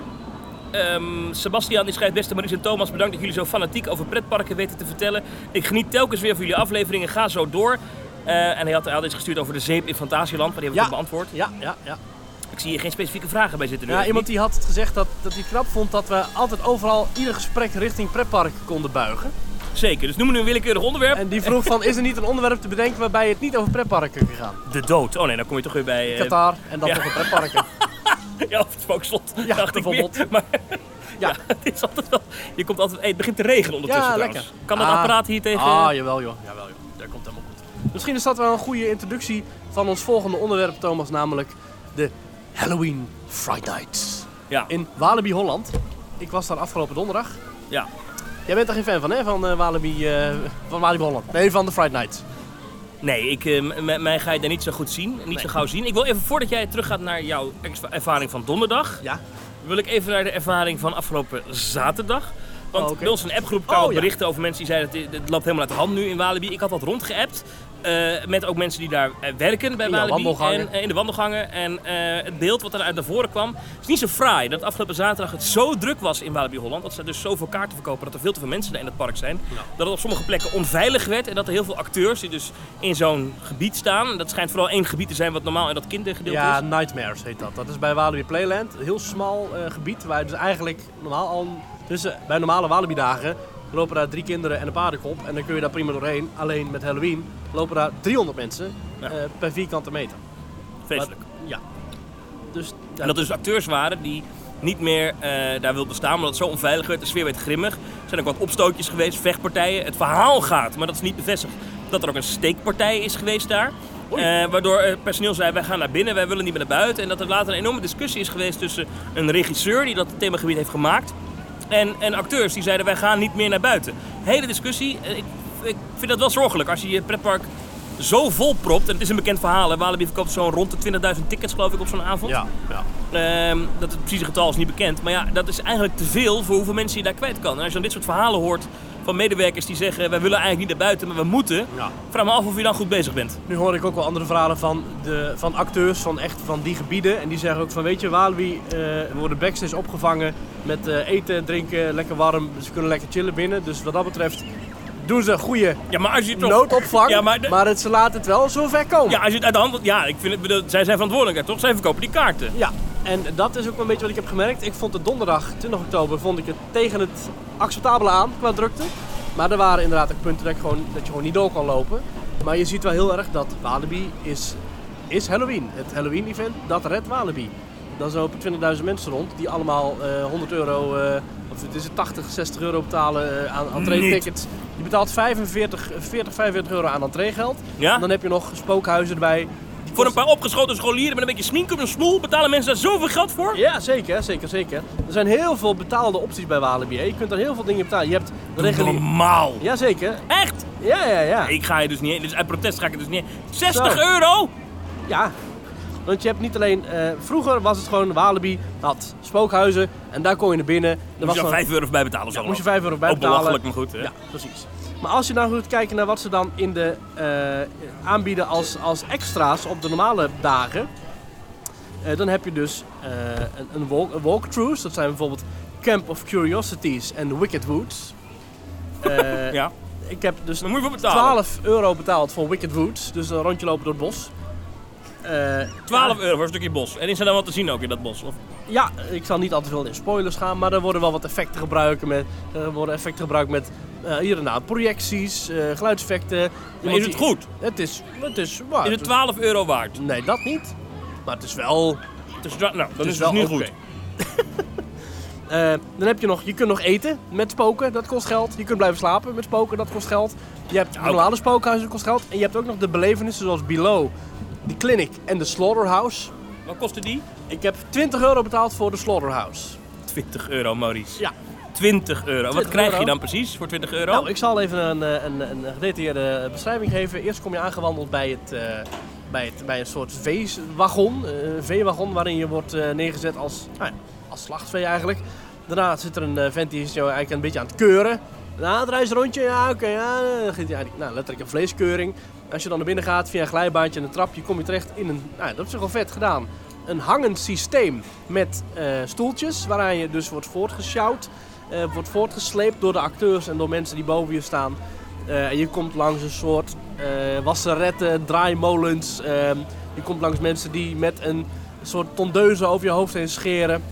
S2: Ehm, Sebastian die schrijft, beste Maries en Thomas, bedankt dat jullie zo fanatiek over pretparken weten te vertellen. Ik geniet telkens weer van jullie afleveringen, ga zo door. Eh, en hij had, hij had iets gestuurd over de zeep in Fantasieland, maar die hebben we
S1: Ja.
S2: toen beantwoord.
S1: Ja, ja, ja.
S2: Ik zie hier geen specifieke vragen bij zitten nu.
S1: Ja,
S2: of
S1: iemand
S2: niet?
S1: die had het gezegd dat, dat hij knap vond dat we altijd overal ieder gesprek richting pretpark konden buigen.
S2: Zeker, dus noem nu een willekeurig onderwerp.
S1: En die vroeg van, is er niet een onderwerp te bedenken waarbij het niet over pretparken kan gaan?
S2: De dood. Oh nee, dan kom je toch weer bij... eh,
S1: Qatar en dan
S2: ja.
S1: over *laughs* pretparken.
S2: *laughs* Ja, of het spookslot,
S1: Ja,
S2: dacht ik weer.
S1: bijvoorbeeld.
S2: *laughs* Maar ja.
S1: Ja.
S2: het is altijd wel... Je komt altijd... hey, het begint te regenen ondertussen
S1: Ja,
S2: trouwens.
S1: lekker.
S2: Kan dat
S1: Ah.
S2: apparaat hier tegen...
S1: Ah, jawel joh. Jawel joh. Daar komt helemaal goed. Misschien is dat wel een goede introductie van ons volgende onderwerp, Thomas, namelijk de Halloween Friday Nights.
S2: ja,
S1: In Walibi Holland. Ik was daar afgelopen donderdag.
S2: ja.
S1: Jij bent er geen fan van, hè? Van eh, Walibi, eh, van Walibi Holland. Nee, van de Friday Nights.
S2: Nee, ik, eh, m- m- mij ga je daar niet zo goed zien. Niet zo gauw zien. Ik wil even, voordat jij teruggaat naar jouw ex- ervaring van donderdag...
S1: Ja.
S2: wil ik even naar de ervaring van afgelopen zaterdag. Want
S1: Oh, oké.
S2: bij ons in een appgroep kwamen
S1: Oh, ja.
S2: berichten over mensen die zeiden... dat dit- het loopt helemaal uit de hand nu in Walibi. Ik had dat rondgeappt. eh, met ook mensen die daar eh, werken bij
S1: In de
S2: Walibi.
S1: wandelgangen.
S2: En, eh, in de wandelgangen. En eh, het beeld wat er uit naar voren kwam... is niet zo fraai dat afgelopen zaterdag het zo druk was in Walibi Holland... dat ze dus zoveel kaarten verkopen dat er veel te veel mensen daar in het park zijn... dat het op sommige plekken onveilig werd... en dat er heel veel acteurs die dus in zo'n gebied staan... en dat schijnt vooral één gebied te zijn wat normaal in dat kindergedeelte
S1: Ja,
S2: is...
S1: Nightmares heet dat. Dat is bij Walibi Playland. Een heel smal eh, gebied waar je dus eigenlijk normaal al tussen, bij normale Walibi dagen lopen daar drie kinderen en een paardenkop. En dan kun je daar prima doorheen. Alleen met Halloween lopen daar 300 mensen
S2: Ja.
S1: eh, per vierkante meter.
S2: Vreselijk.
S1: Maar- ja. Dus ja,
S2: En dat er dus acteurs waren die niet meer eh, daar wilden staan, omdat het zo onveilig werd. De sfeer werd grimmig. Er zijn ook wat opstootjes geweest, vechtpartijen. Het verhaal gaat, maar dat is niet bevestigd, dat er ook een steekpartij is geweest daar.
S1: Oei.
S2: Eh, waardoor het personeel zei, wij gaan naar binnen, wij willen niet meer naar buiten. En dat er later een enorme discussie is geweest tussen een regisseur die dat themagebied heeft gemaakt... en, en acteurs die zeiden, wij gaan niet meer naar buiten. Hele discussie. Eh, Ik, ik vind dat wel zorgelijk als je je pretpark zo vol propt. En het is een bekend verhaal. hè. Walibi verkoopt zo'n rond de 20.000 tickets geloof ik op zo'n avond.
S1: ja, ja.
S2: Ehm, dat het precieze getal is niet bekend. Maar ja, dat is eigenlijk te veel voor hoeveel mensen je daar kwijt kan. En als je dan dit soort verhalen hoort van medewerkers die zeggen... wij willen eigenlijk niet naar buiten, maar we moeten.
S1: Ja.
S2: Vraag me af of je dan goed bezig bent.
S1: Nu hoor ik ook wel andere verhalen van, de, van acteurs van, echt van die gebieden. En die zeggen ook van, weet je, Walibi eh, we worden backstage opgevangen met eh, eten, drinken, lekker warm. Ze kunnen lekker chillen binnen. Dus wat dat betreft doen ze een goede
S2: Ja, maar als je toch...
S1: noodopvang.
S2: Ja, maar
S1: maar
S2: de-
S1: het, ze laten het wel zo ver komen.
S2: Ja, als je het uit de hand... Ja, ik vind het, bedoel, zij zijn verantwoordelijk, toch? Zij verkopen die kaarten.
S1: Ja, en dat is ook wel een beetje wat ik heb gemerkt. Ik vond het donderdag, 20 oktober, vond ik het tegen het acceptabele aan qua drukte. Maar er waren inderdaad ook punten dat, ik gewoon, dat je gewoon niet door kan lopen. Maar je ziet wel heel erg dat Walibi is, is Halloween. Het Halloween-event, dat redt Walibi. Dan lopen 20.000 mensen rond die allemaal eh, 100 euro, eh, of het is het 80, 60 euro betalen eh, aan entree-tickets. Je betaalt 45, 40, 45 euro aan entreegeld.
S2: Ja?
S1: En dan heb je nog spookhuizen erbij. Die
S2: Voor een paar opgeschoten scholieren met een beetje smink op hun smoel... betalen mensen daar zoveel geld voor?
S1: ja, zeker, zeker, zeker. Er zijn heel veel betaalde opties bij Walibi. hè. Je kunt er heel veel dingen betalen. Je hebt regulier...
S2: Normaal.
S1: Jazeker.
S2: Echt?
S1: Ja, ja, ja.
S2: Ik ga je dus niet heen. Dus uit protest ga ik het dus niet heen. 60
S1: Zo.
S2: euro?
S1: Ja. Want je hebt niet alleen... eh, vroeger was het gewoon Walibi had spookhuizen en daar kon je naar binnen. Er
S2: Moest
S1: was
S2: je
S1: dan-
S2: dan 5 euro bij betalen? zo
S1: moest je
S2: geloof
S1: 5
S2: ik.
S1: euro bij
S2: Ook
S1: betalen.
S2: belachelijk, maar goed. hè?
S1: Ja, precies. Maar als je nou goed kijkt naar wat ze dan in de, eh, aanbieden als, als extra's op de normale dagen. Eh, dan heb je dus eh, een, een, walk, een walkthroughs. Dat zijn bijvoorbeeld Camp of Curiosities en Wicked Woods.
S2: *laughs*
S1: Eh,
S2: Ja,
S1: Ik heb dus
S2: dan moet je voor betalen.
S1: 12 euro betaald voor Wicked Woods. Dus een rondje lopen door het bos. Eh,
S2: 12 euro voor een stukje bos. En is er dan wat te zien ook in dat bos? Of,
S1: Ja, ik zal niet al te veel in spoilers gaan, maar er worden wel wat effecten gebruikt met, er worden effecten gebruikt met eh, hier en daar projecties, eh, geluidseffecten.
S2: maar
S1: Iemand
S2: is het
S1: die-
S2: goed?
S1: Het is, het is, waar.
S2: Is Ah, het 12 euro waard?
S1: Nee, dat niet. Maar het is wel
S2: Het is, nou, dan
S1: is
S2: is, het
S1: wel
S2: dus niet
S1: oké.
S2: goed.
S1: Eh, dan heb je nog, je kunt nog eten met spoken, dat kost geld. Je kunt blijven slapen met spoken, dat kost geld. Je hebt
S2: Nou.
S1: normale spookhuizen, dat kost geld. En je hebt ook nog de belevenissen zoals Below, de Clinic en de Slaughterhouse.
S2: Wat kostte die?
S1: Ik heb 20 euro betaald voor de Slaughterhouse.
S2: 20 euro, Maurice.
S1: Ja.
S2: 20 euro. Wat
S1: 20
S2: krijg
S1: euro?
S2: je dan precies voor 20 euro?
S1: Nou, ik zal even een, eh, een, een gedetailleerde beschrijving geven. Eerst kom je aangewandeld bij, het, eh, bij, het, bij een soort veewagon. eh, Een veewagon waarin je wordt eh, neergezet als, nou ja, als slachtvee eigenlijk. Daarna zit er een eh, vent die is jou eigenlijk een beetje aan het keuren. Nou, draai eens een rondje. Ja, oké. ja, eh, dan geeft hij eigenlijk, nou, letterlijk een vleeskeuring. Als je dan naar binnen gaat via een glijbaantje en een trapje, kom je terecht in een... Nou, dat is wel vet gedaan. Een hangend systeem met eh, stoeltjes, waaraan je dus wordt voortgesjouwd. eh, wordt voortgesleept door de acteurs en door mensen die boven je staan. Eh, en je komt langs een soort eh wasseretten, draaimolens. ehm, je komt langs mensen die met een soort tondeuze over je hoofd heen scheren.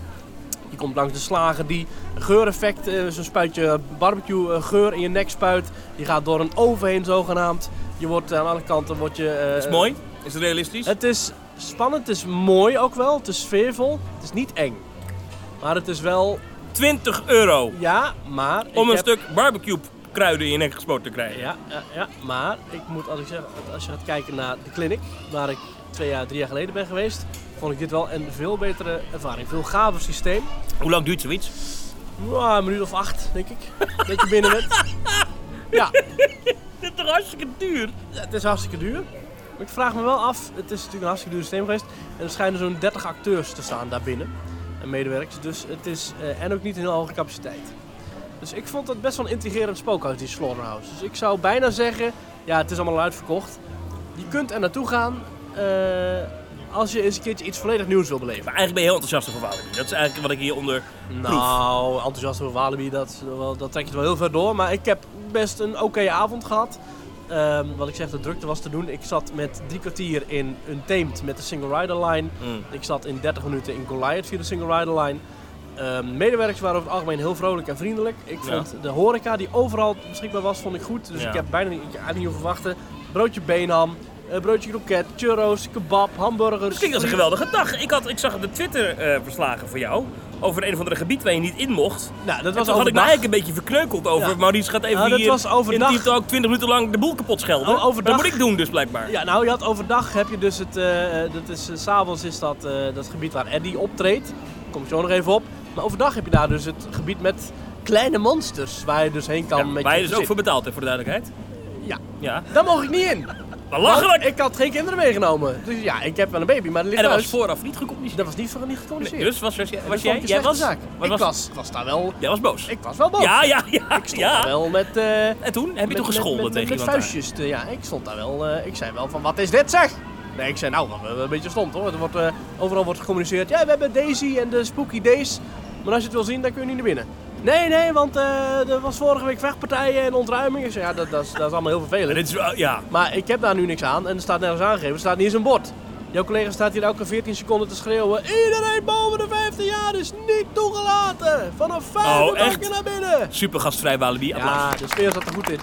S1: Je komt langs de slager die een geureffect, eh, zo'n spuitje barbecue eh, geur in je nek spuit. Je gaat door een oven heen zogenaamd. Je wordt eh, aan alle kanten word je. eh,
S2: is het mooi? Eh, Is het realistisch?
S1: het is spannend, het is mooi ook wel, het is sfeervol, het is niet eng. Maar het is wel,
S2: 20 euro
S1: ja, maar... ik
S2: om een
S1: heb-
S2: stuk barbecue kruiden in je nek gespoten te krijgen.
S1: Ja, ja, ja, maar ik moet als ik zeg, als je gaat kijken naar de clinic, waar ik twee jaar, drie jaar geleden ben geweest, vond ik dit wel een veel betere ervaring. Veel gaver systeem.
S2: Hoe lang duurt zoiets?
S1: Nou, een minuut of acht, denk ik, *laughs* dat je binnen bent. Ja,
S2: Dit is toch hartstikke duur?
S1: het is hartstikke duur. Maar ik vraag me wel af, het is natuurlijk een hartstikke duur systeem geweest. En er schijnen zo'n 30 acteurs te staan daar binnen. En medewerkers. Dus het is, eh, en ook niet een heel hoge capaciteit. Dus ik vond het best wel een intrigerend spookhuis, die Slaughterhouse. Dus ik zou bijna zeggen, ja, het is allemaal al uitverkocht. Je kunt er naartoe gaan eh, als je eens een keertje iets volledig nieuws wil beleven.
S2: Maar eigenlijk ben je heel enthousiast over Walibi. Dat is eigenlijk wat ik hieronder...
S1: Nou, enthousiast over Walibi, dat, is wel- dat trekt het wel heel ver door. Maar ik heb best een oké avond gehad. Ehm, wat ik zeg, de drukte was te doen. Ik zat met drie kwartier in Untamed met de Single Rider Line.
S2: Mm.
S1: Ik zat in 30 minuten in Goliath via de Single Rider Line. Ehm, medewerkers waren over het algemeen heel vrolijk en vriendelijk. Ik
S2: Ja.
S1: vond de horeca die overal beschikbaar was, vond ik goed. Dus
S2: Ja.
S1: ik heb bijna niet, ik, had niet hoeven wachten. Broodje beenham, eh, broodje kroket, churros, kebab, hamburgers.
S2: Dat klinkt als een geweldige dag. Ik, had, ik zag de Twitter-verslagen voor jou over een of andere gebied waar je niet in mocht.
S1: Nou, dat was
S2: En toen had ik me
S1: overdag.
S2: eigenlijk een beetje verkneukeld over.
S1: Ja.
S2: Maurice gaat even
S1: Nou, dat
S2: hier
S1: was overdag.
S2: in Team Talk 20 minuten lang de boel kapot schelden.
S1: Oh, overdag.
S2: Dat moet ik doen dus blijkbaar.
S1: Ja, nou, je had overdag heb je dus het. eh, eh, dat is, eh, 's s'avonds is dat, eh, dat gebied waar Eddie optreedt. Daar Kom ik zo nog even op. Maar overdag heb je daar dus het gebied met kleine monsters. Waar je dus heen kan
S2: Ja,
S1: met
S2: waar je
S1: je
S2: dus ook voor betaald hebt, voor de duidelijkheid.
S1: gezin. Ja,
S2: Ja.
S1: daar mocht ik niet in.
S2: Belachelijk!
S1: Want Ik dus- had geen kinderen meegenomen. Dus ja, ik heb wel een baby, maar dat
S2: En
S1: ligt
S2: dat was
S1: thuis.
S2: vooraf niet gecommuniceerd.
S1: Dat was niet, voor, niet gecommuniceerd.
S2: Nee, dus was, was,
S1: En dat
S2: was
S1: vond
S2: jij?
S1: ik een
S2: Jij
S1: slechte
S2: was,
S1: zaak.
S2: wat
S1: ik was,
S2: was-
S1: was, daar wel...
S2: Jij was boos.
S1: Ik was wel boos.
S2: Ja, ja, ja.
S1: Ik stond daar
S2: ja.
S1: wel met... eh,
S2: En toen heb je
S1: met-
S2: toch gescholden
S1: met, met,
S2: tegen
S1: met
S2: iemand daar?
S1: vuistjes. te- ja, ik stond daar wel. eh, ik zei wel van, wat is dit zeg? Nee, ik zei nou, wel, eh, een beetje stond hoor. Er wordt, eh, overal wordt gecommuniceerd. Ja, we hebben Daisy en de Spooky Days. Maar als je het wil zien, dan kun je niet naar binnen. Nee, nee, want eh, er was vorige week vechtpartijen en ontruiming. Ik zei, ja, dat, dat, is, dat is allemaal heel
S2: Ja,
S1: vervelend.
S2: dit is wel- ja.
S1: Maar ik heb daar nu niks aan en er staat nergens aangegeven. Er staat niet eens een bord. Jouw collega staat hier elke 14 seconden te schreeuwen. Iedereen boven de 15 jaar is niet toegelaten. Vanaf 5
S2: Oh,
S1: uur mag
S2: echt?
S1: je naar binnen.
S2: Super gastvrij Walibi. Applaus.
S1: Ja, de sfeer zat er goed in.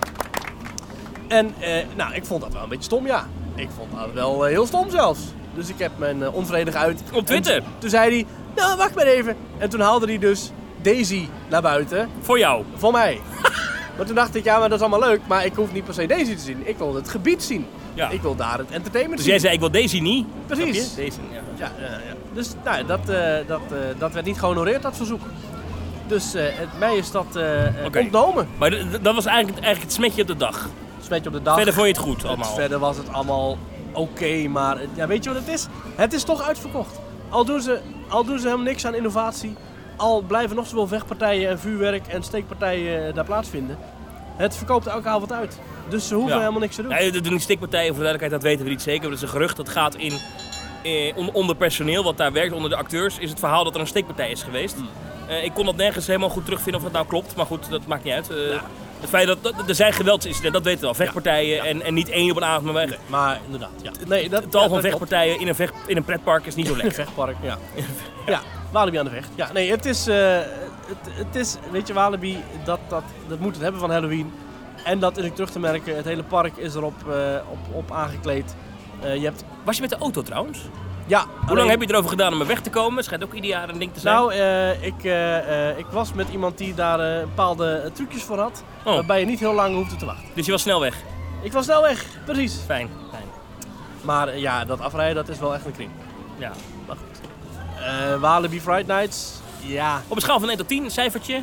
S1: En eh, nou, ik vond dat wel een beetje stom, ja. Ik vond dat wel eh, heel stom zelfs. Dus ik heb mijn eh onvredig uit.
S2: Op Twitter?
S1: En toen zei hij, nou wacht maar even. En toen haalde hij dus Daisy naar buiten.
S2: Voor jou. Dus
S1: Voor
S2: *laughs*
S1: mij. maar toen dacht ik, ja, maar dat is allemaal leuk. Maar ik hoef niet per se Daisy te zien. Ik wil het gebied zien.
S2: Ja.
S1: Ik wil daar het entertainment
S2: Dus
S1: zien.
S2: jij zei, ik wil Daisy niet.
S1: Precies.
S2: Snap je? Daisy, ja.
S1: Ja, ja, ja. Dus nou, ja, dat, eh, dat, eh, dat werd niet gehonoreerd, dat verzoek. Dus eh, het, mij is dat eh, eh,
S2: Oké.
S1: ontnomen.
S2: Maar d- d- dat was eigenlijk, eigenlijk het smetje op de dag.
S1: Smetje op de dag.
S2: Verder vond je het goed
S1: Het-
S2: allemaal.
S1: verder was het allemaal oké, maar het- ja, weet je wat het is? Het is toch uitverkocht. Al doen, ze, al doen ze helemaal niks aan innovatie, al blijven nog zoveel vechtpartijen en vuurwerk en steekpartijen eh, daar plaatsvinden. Het verkoopt elke avond uit. Dus ze hoeven
S2: Ja.
S1: helemaal niks te doen.
S2: Nee, dat doen die stikpartijen voor de duidelijkheid, dat weten we niet zeker. Maar dat is een gerucht dat gaat in eh, on- onder personeel wat daar werkt, onder de acteurs, is het verhaal dat er een steekpartij is geweest. Eh, ik kon dat nergens helemaal goed terugvinden of dat nou klopt, maar goed, dat maakt niet uit. Eh, Het feit dat, dat- er zijn geweldsincidenten, dat weten we al. Vechtpartijen En, en niet één op een avond, maar echt
S1: Maar inderdaad, ja. Nee, dat,
S2: een tal
S1: ja,
S2: van
S1: dat klopt.
S2: vechtpartijen in een, vecht, in een pretpark is niet zo lekker.
S1: Vechtpark, ja. ja. Walibi aan de vecht. Ja, nee, het is, eh, het, het is weet je, Walibi, dat, dat, dat moet het hebben van Halloween. En dat is ook terug te merken. Het hele park is erop eh, op, op aangekleed. Eh, je hebt,
S2: *laughs* Was je met de auto trouwens? Hoe
S1: ja,
S2: lang heb je erover gedaan om er weg te komen? Schijnt ook ieder jaar een ding te zijn.
S1: Nou, eh, ik, eh, eh, ik was met iemand die daar eh, bepaalde eh, trucjes voor had.
S2: Oh.
S1: Waarbij je niet heel lang hoefde te wachten.
S2: dus je was snel weg.
S1: Ik was snel weg, precies.
S2: Fijn. Fijn.
S1: Maar eh, ja, dat afrijden, dat is wel echt een kring.
S2: Ja.
S1: Maar goed. Eh, Walibi Friday Nights, ja,
S2: Op een schaal van 1 tot 10, een cijfertje.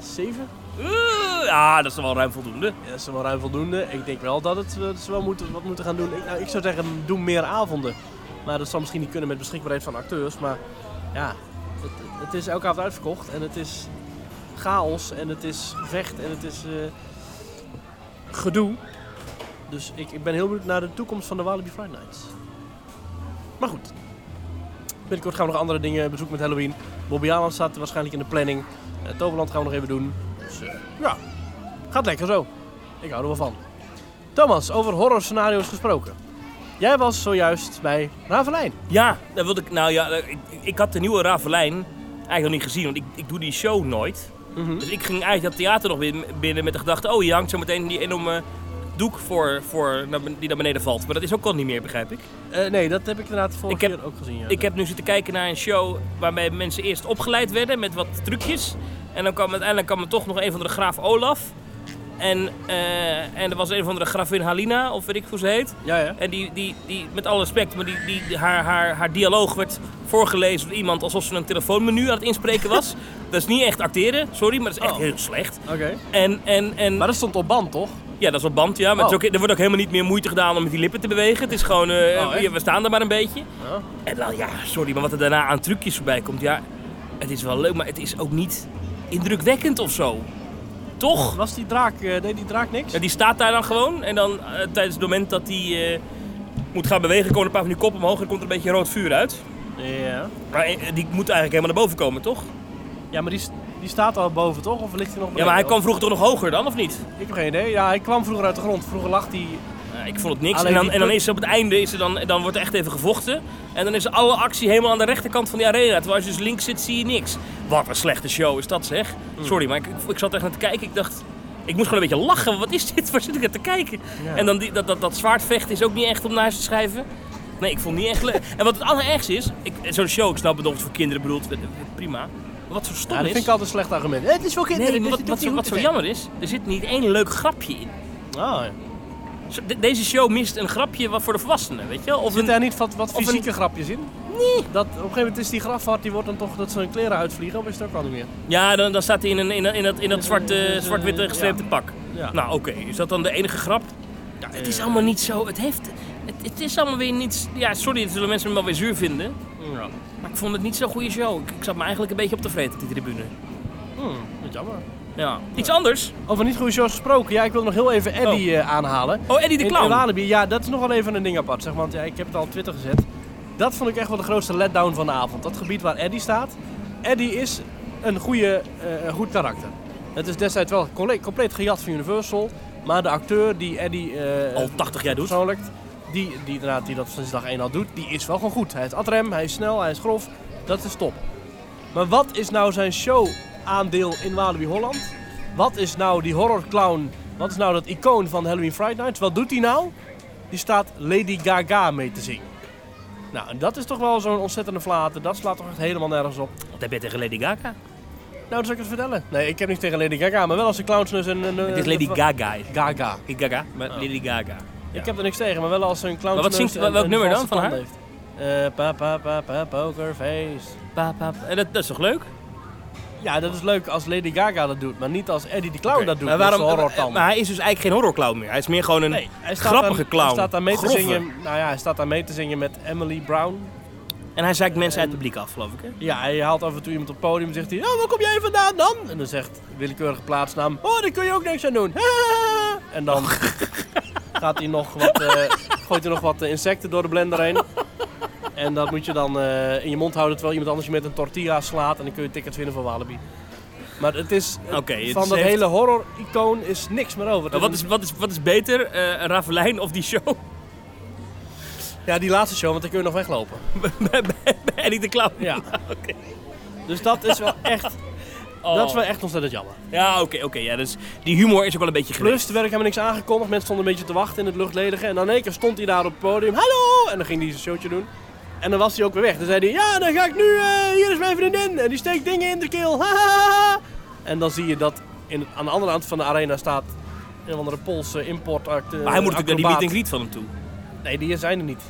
S1: 7.
S2: Oeh, ja, dat is wel ruim voldoende.
S1: Ja, Dat is wel ruim voldoende. Ik denk wel dat, het, eh, dat ze wel moeten, wat moeten gaan doen. Ik, nou, ik zou zeggen, doe meer avonden. Maar dat zal misschien niet kunnen met beschikbaarheid van acteurs. Maar ja, het, het is elke avond uitverkocht. En het is chaos. En het is gevecht. En het is eh, gedoe. Dus ik, ik ben heel benieuwd naar de toekomst van de Walibi Friday Nights. Maar goed. Binnenkort gaan we nog andere dingen bezoeken met Halloween. Bobby Aland staat waarschijnlijk in de planning. Eh, Toverland gaan we nog even doen. Dus eh, ja, gaat lekker zo. Ik hou er wel van. Thomas, over horrorscenario's gesproken. Jij was zojuist bij Ravelijn.
S2: Ja, dat wilde ik. Nou ja, ik, ik had de nieuwe Ravelijn eigenlijk nog niet gezien, want ik, ik doe die show nooit.
S1: Mhm.
S2: Dus ik ging eigenlijk dat theater nog bin- binnen met de gedachte: oh, hier hangt zo meteen die enorme doek voor, voor naar ben- die naar beneden valt. Maar dat is ook al niet meer, begrijp ik.
S1: Eh, nee, dat heb ik inderdaad vorige
S2: Ik heb-
S1: keer ook gezien. ja.
S2: Ik heb nu zitten kijken naar een show waarbij mensen eerst opgeleid werden met wat trucjes. En dan kwam uiteindelijk kwam er toch nog een van de graaf Olaf. En, eh, en er was een van de gravin Halina, of weet ik hoe ze heet.
S1: Ja, ja.
S2: En die, die, die met alle respect, maar die, die, die- haar, haar, haar dialoog werd voorgelezen door iemand alsof ze een telefoonmenu aan het inspreken was.
S1: *laughs*
S2: dat is niet echt acteren, sorry, maar dat is echt
S1: Oh.
S2: heel slecht.
S1: Oké.
S2: En, en, en
S1: Maar dat stond op band, toch?
S2: ja, dat is op band, ja. Maar het is
S1: Oh.
S2: ook- er wordt ook helemaal niet meer moeite gedaan om met die lippen te bewegen. Het is gewoon, eh,
S1: Oh, echt?
S2: ja, we staan er maar een beetje.
S1: Ja.
S2: En dan, ja, sorry, maar wat er daarna aan trucjes voorbij komt, ja, het is wel leuk, maar het is ook niet indrukwekkend of zo. Toch?
S1: Was die draak, eh deed die draak niks?
S2: Ja, die staat daar dan gewoon. En dan eh, tijdens het moment dat die eh, moet gaan bewegen, komen er een paar van die koppen omhoog en komt er een beetje rood vuur uit.
S1: Ja.
S2: Maar eh, die moet eigenlijk helemaal naar boven komen, toch?
S1: Ja, maar die, s- die staat al boven, toch? Of ligt hij nog
S2: Ja,
S1: beneden?
S2: maar hij kwam vroeger toch nog hoger dan, of niet?
S1: Ik heb geen idee. Ja, hij kwam vroeger uit de grond. Vroeger lag die...
S2: Nou, ik vond het niks.
S1: Alleen
S2: En dan,
S1: die
S2: en dan
S1: put-
S2: is er op het einde, is er dan, dan wordt er echt even gevochten. En dan is alle actie helemaal aan de rechterkant van die arena. Terwijl als je dus links zit, zie je niks. Wat een slechte show is dat, zeg.
S1: Mm.
S2: Sorry, maar ik, ik zat echt naar te kijken. Ik dacht, ik moest gewoon een beetje lachen. Wat is dit? *laughs* Waar zit ik naar te kijken?
S1: Ja.
S2: En dan die, dat, dat, dat zwaardvechten is ook niet echt om naar huis te schrijven. Nee, ik vond het niet echt
S1: *laughs*
S2: leuk. En wat het allerergste is, ik- zo'n show, ik snap het of het voor kinderen bedoeld, eh, eh, prima. Maar wat zo stom
S1: Ja, dat
S2: is...
S1: vind ik altijd een slecht argument. Het is wel
S2: Nee,
S1: kinderen, dus
S2: wat,
S1: je
S2: wat,
S1: doet
S2: zo, wat
S1: niet
S2: zo
S1: goed
S2: jammer is, er zit niet één leuk grapje in.
S1: te zeggen. Ah, ja.
S2: Zo, de- Deze show mist een grapje wat voor de volwassenen, weet je wel? Of
S1: Zit
S2: een,
S1: daar niet wat, wat
S2: een-
S1: fysieke grapjes in? Nee. Dat, op een gegeven moment is die grafhard, die wordt dan toch dat ze hun kleren uitvliegen. Of is dat ook al niet meer?
S2: ja, dan, dan staat hij in, een, in, dat- in dat, in dat zwarte,
S1: eh,
S2: zwart-witte
S1: ja.
S2: gestreepte pak.
S1: Ja. eh,
S2: Nou, oké. Is dat dan de enige grap? Ja, het is allemaal niet zo... Het heeft... Het, het is allemaal weer niet... Ja, sorry, dat zullen mensen me wel weer zuur vinden.
S1: Ja.
S2: Maar ik vond het niet zo'n goede show. Ik, ik zat me eigenlijk een beetje op te vreten op die tribune.
S1: Hmm, wat jammer.
S2: Ja. Iets anders.
S1: Over niet goede shows gesproken. Ja, ik wil nog heel even Eddie eh, aanhalen.
S2: Oh, Eddie de
S1: In- In
S2: Clown.
S1: Walibi, ja, dat is nog wel even een ding apart, zeg. Want ja, ik heb het al op Twitter gezet. Dat vond ik echt wel de grootste letdown van de avond. Dat gebied waar Eddie staat. Eddie is een, goede, eh, een goed karakter. Het is destijds wel colle- compleet gejat van Universal. Maar de acteur die Eddie eh,
S2: Al 80 jaar doet.
S1: persoonlijk, die, die, inderdaad, die dat sinds dag 1 al doet, die is wel gewoon goed. Hij is adrem, hij is snel, hij is grof. Dat is top. Maar wat is nou zijn show-aandeel in Walibi Holland? Wat is nou die horrorclown? Wat is nou dat icoon van Halloween Friday Nights? Wat doet hij nou? Die staat Lady Gaga mee te zingen. Nou, en dat is toch wel zo'n ontzettende flater. Dat slaat toch echt helemaal nergens op.
S2: Wat heb je tegen Lady Gaga?
S1: Nou, dat zal ik het vertellen. Nee, ik heb niks tegen Lady Gaga, maar wel als de clowns dus een... een
S2: Het is Lady Gaga.
S1: Gaga.
S2: Niet Gaga, maar Lady Gaga. Ja.
S1: Ik heb er niks tegen, maar wel als een clown.
S2: Maar wat zingt- welk nummer dan van haar?
S1: Heeft. Eh, pa, pa, pa, pa, pokerface.
S2: Pa, pa, pa. En Dat, dat is toch leuk?
S1: Ja, dat is leuk als Lady Gaga dat doet, maar niet als Eddie de Clown
S2: Oké.
S1: Oh, dat doet.
S2: Maar,
S1: met
S2: waarom,
S1: zijn horrortanden.
S2: maar hij is dus eigenlijk geen horrorclown meer. Hij is meer gewoon een
S1: Nee, hij staat
S2: grappige
S1: daar-
S2: clown.
S1: Hij staat daar mee te
S2: Grove.
S1: zingen. Nou ja, hij staat daar mee te zingen met Emily Brown.
S2: En hij zeikt mensen uit het publiek af, geloof ik. Hè?
S1: Ja, hij haalt af en toe iemand op het podium en zegt hij: Oh, waar kom jij vandaan dan? En dan zegt willekeurige plaatsnaam: Oh, daar kun je ook niks aan doen. *laughs* En dan gaat hij nog wat, eh, gooit hij nog wat eh, insecten door de blender heen. En dat moet je dan eh, in je mond houden terwijl iemand anders je met een tortilla slaat. En dan kun je tickets winnen voor Walibi. Maar het is eh,
S2: Oké, het
S1: van
S2: is
S1: dat
S2: echt-
S1: hele horror-icoon is niks meer over. Het
S2: Maar wat
S1: een-
S2: is, wat is, wat is beter, eh Ravelijn of die show? *laughs*
S1: Ja, die laatste show, want dan kun je nog weglopen.
S2: bij, bij, bij Eddie de Clown?
S1: *laughs* Ja.
S2: oké.
S1: Dus dat is wel echt,
S2: Oh.
S1: dat is wel echt ontzettend jammer.
S2: Ja, oké, oké. ja, dus die humor is ook wel een beetje geweest.
S1: Plus, er werd ook helemaal niks aangekondigd. Mensen stonden een beetje te wachten in het luchtledige. En dan in één keer stond hij daar op het podium. Hallo! En dan ging hij zijn showtje doen. En dan was hij ook weer weg. Dan zei hij, ja, dan ga ik nu, eh, hier is mijn vriendin. En die steekt dingen in de keel. Ha, ha, ha. En dan zie je dat in, aan de andere kant van de arena staat een of andere Poolse import.
S2: Maar hij moet natuurlijk naar die meet and greet van hem toe.
S1: Nee, die zijn er niet.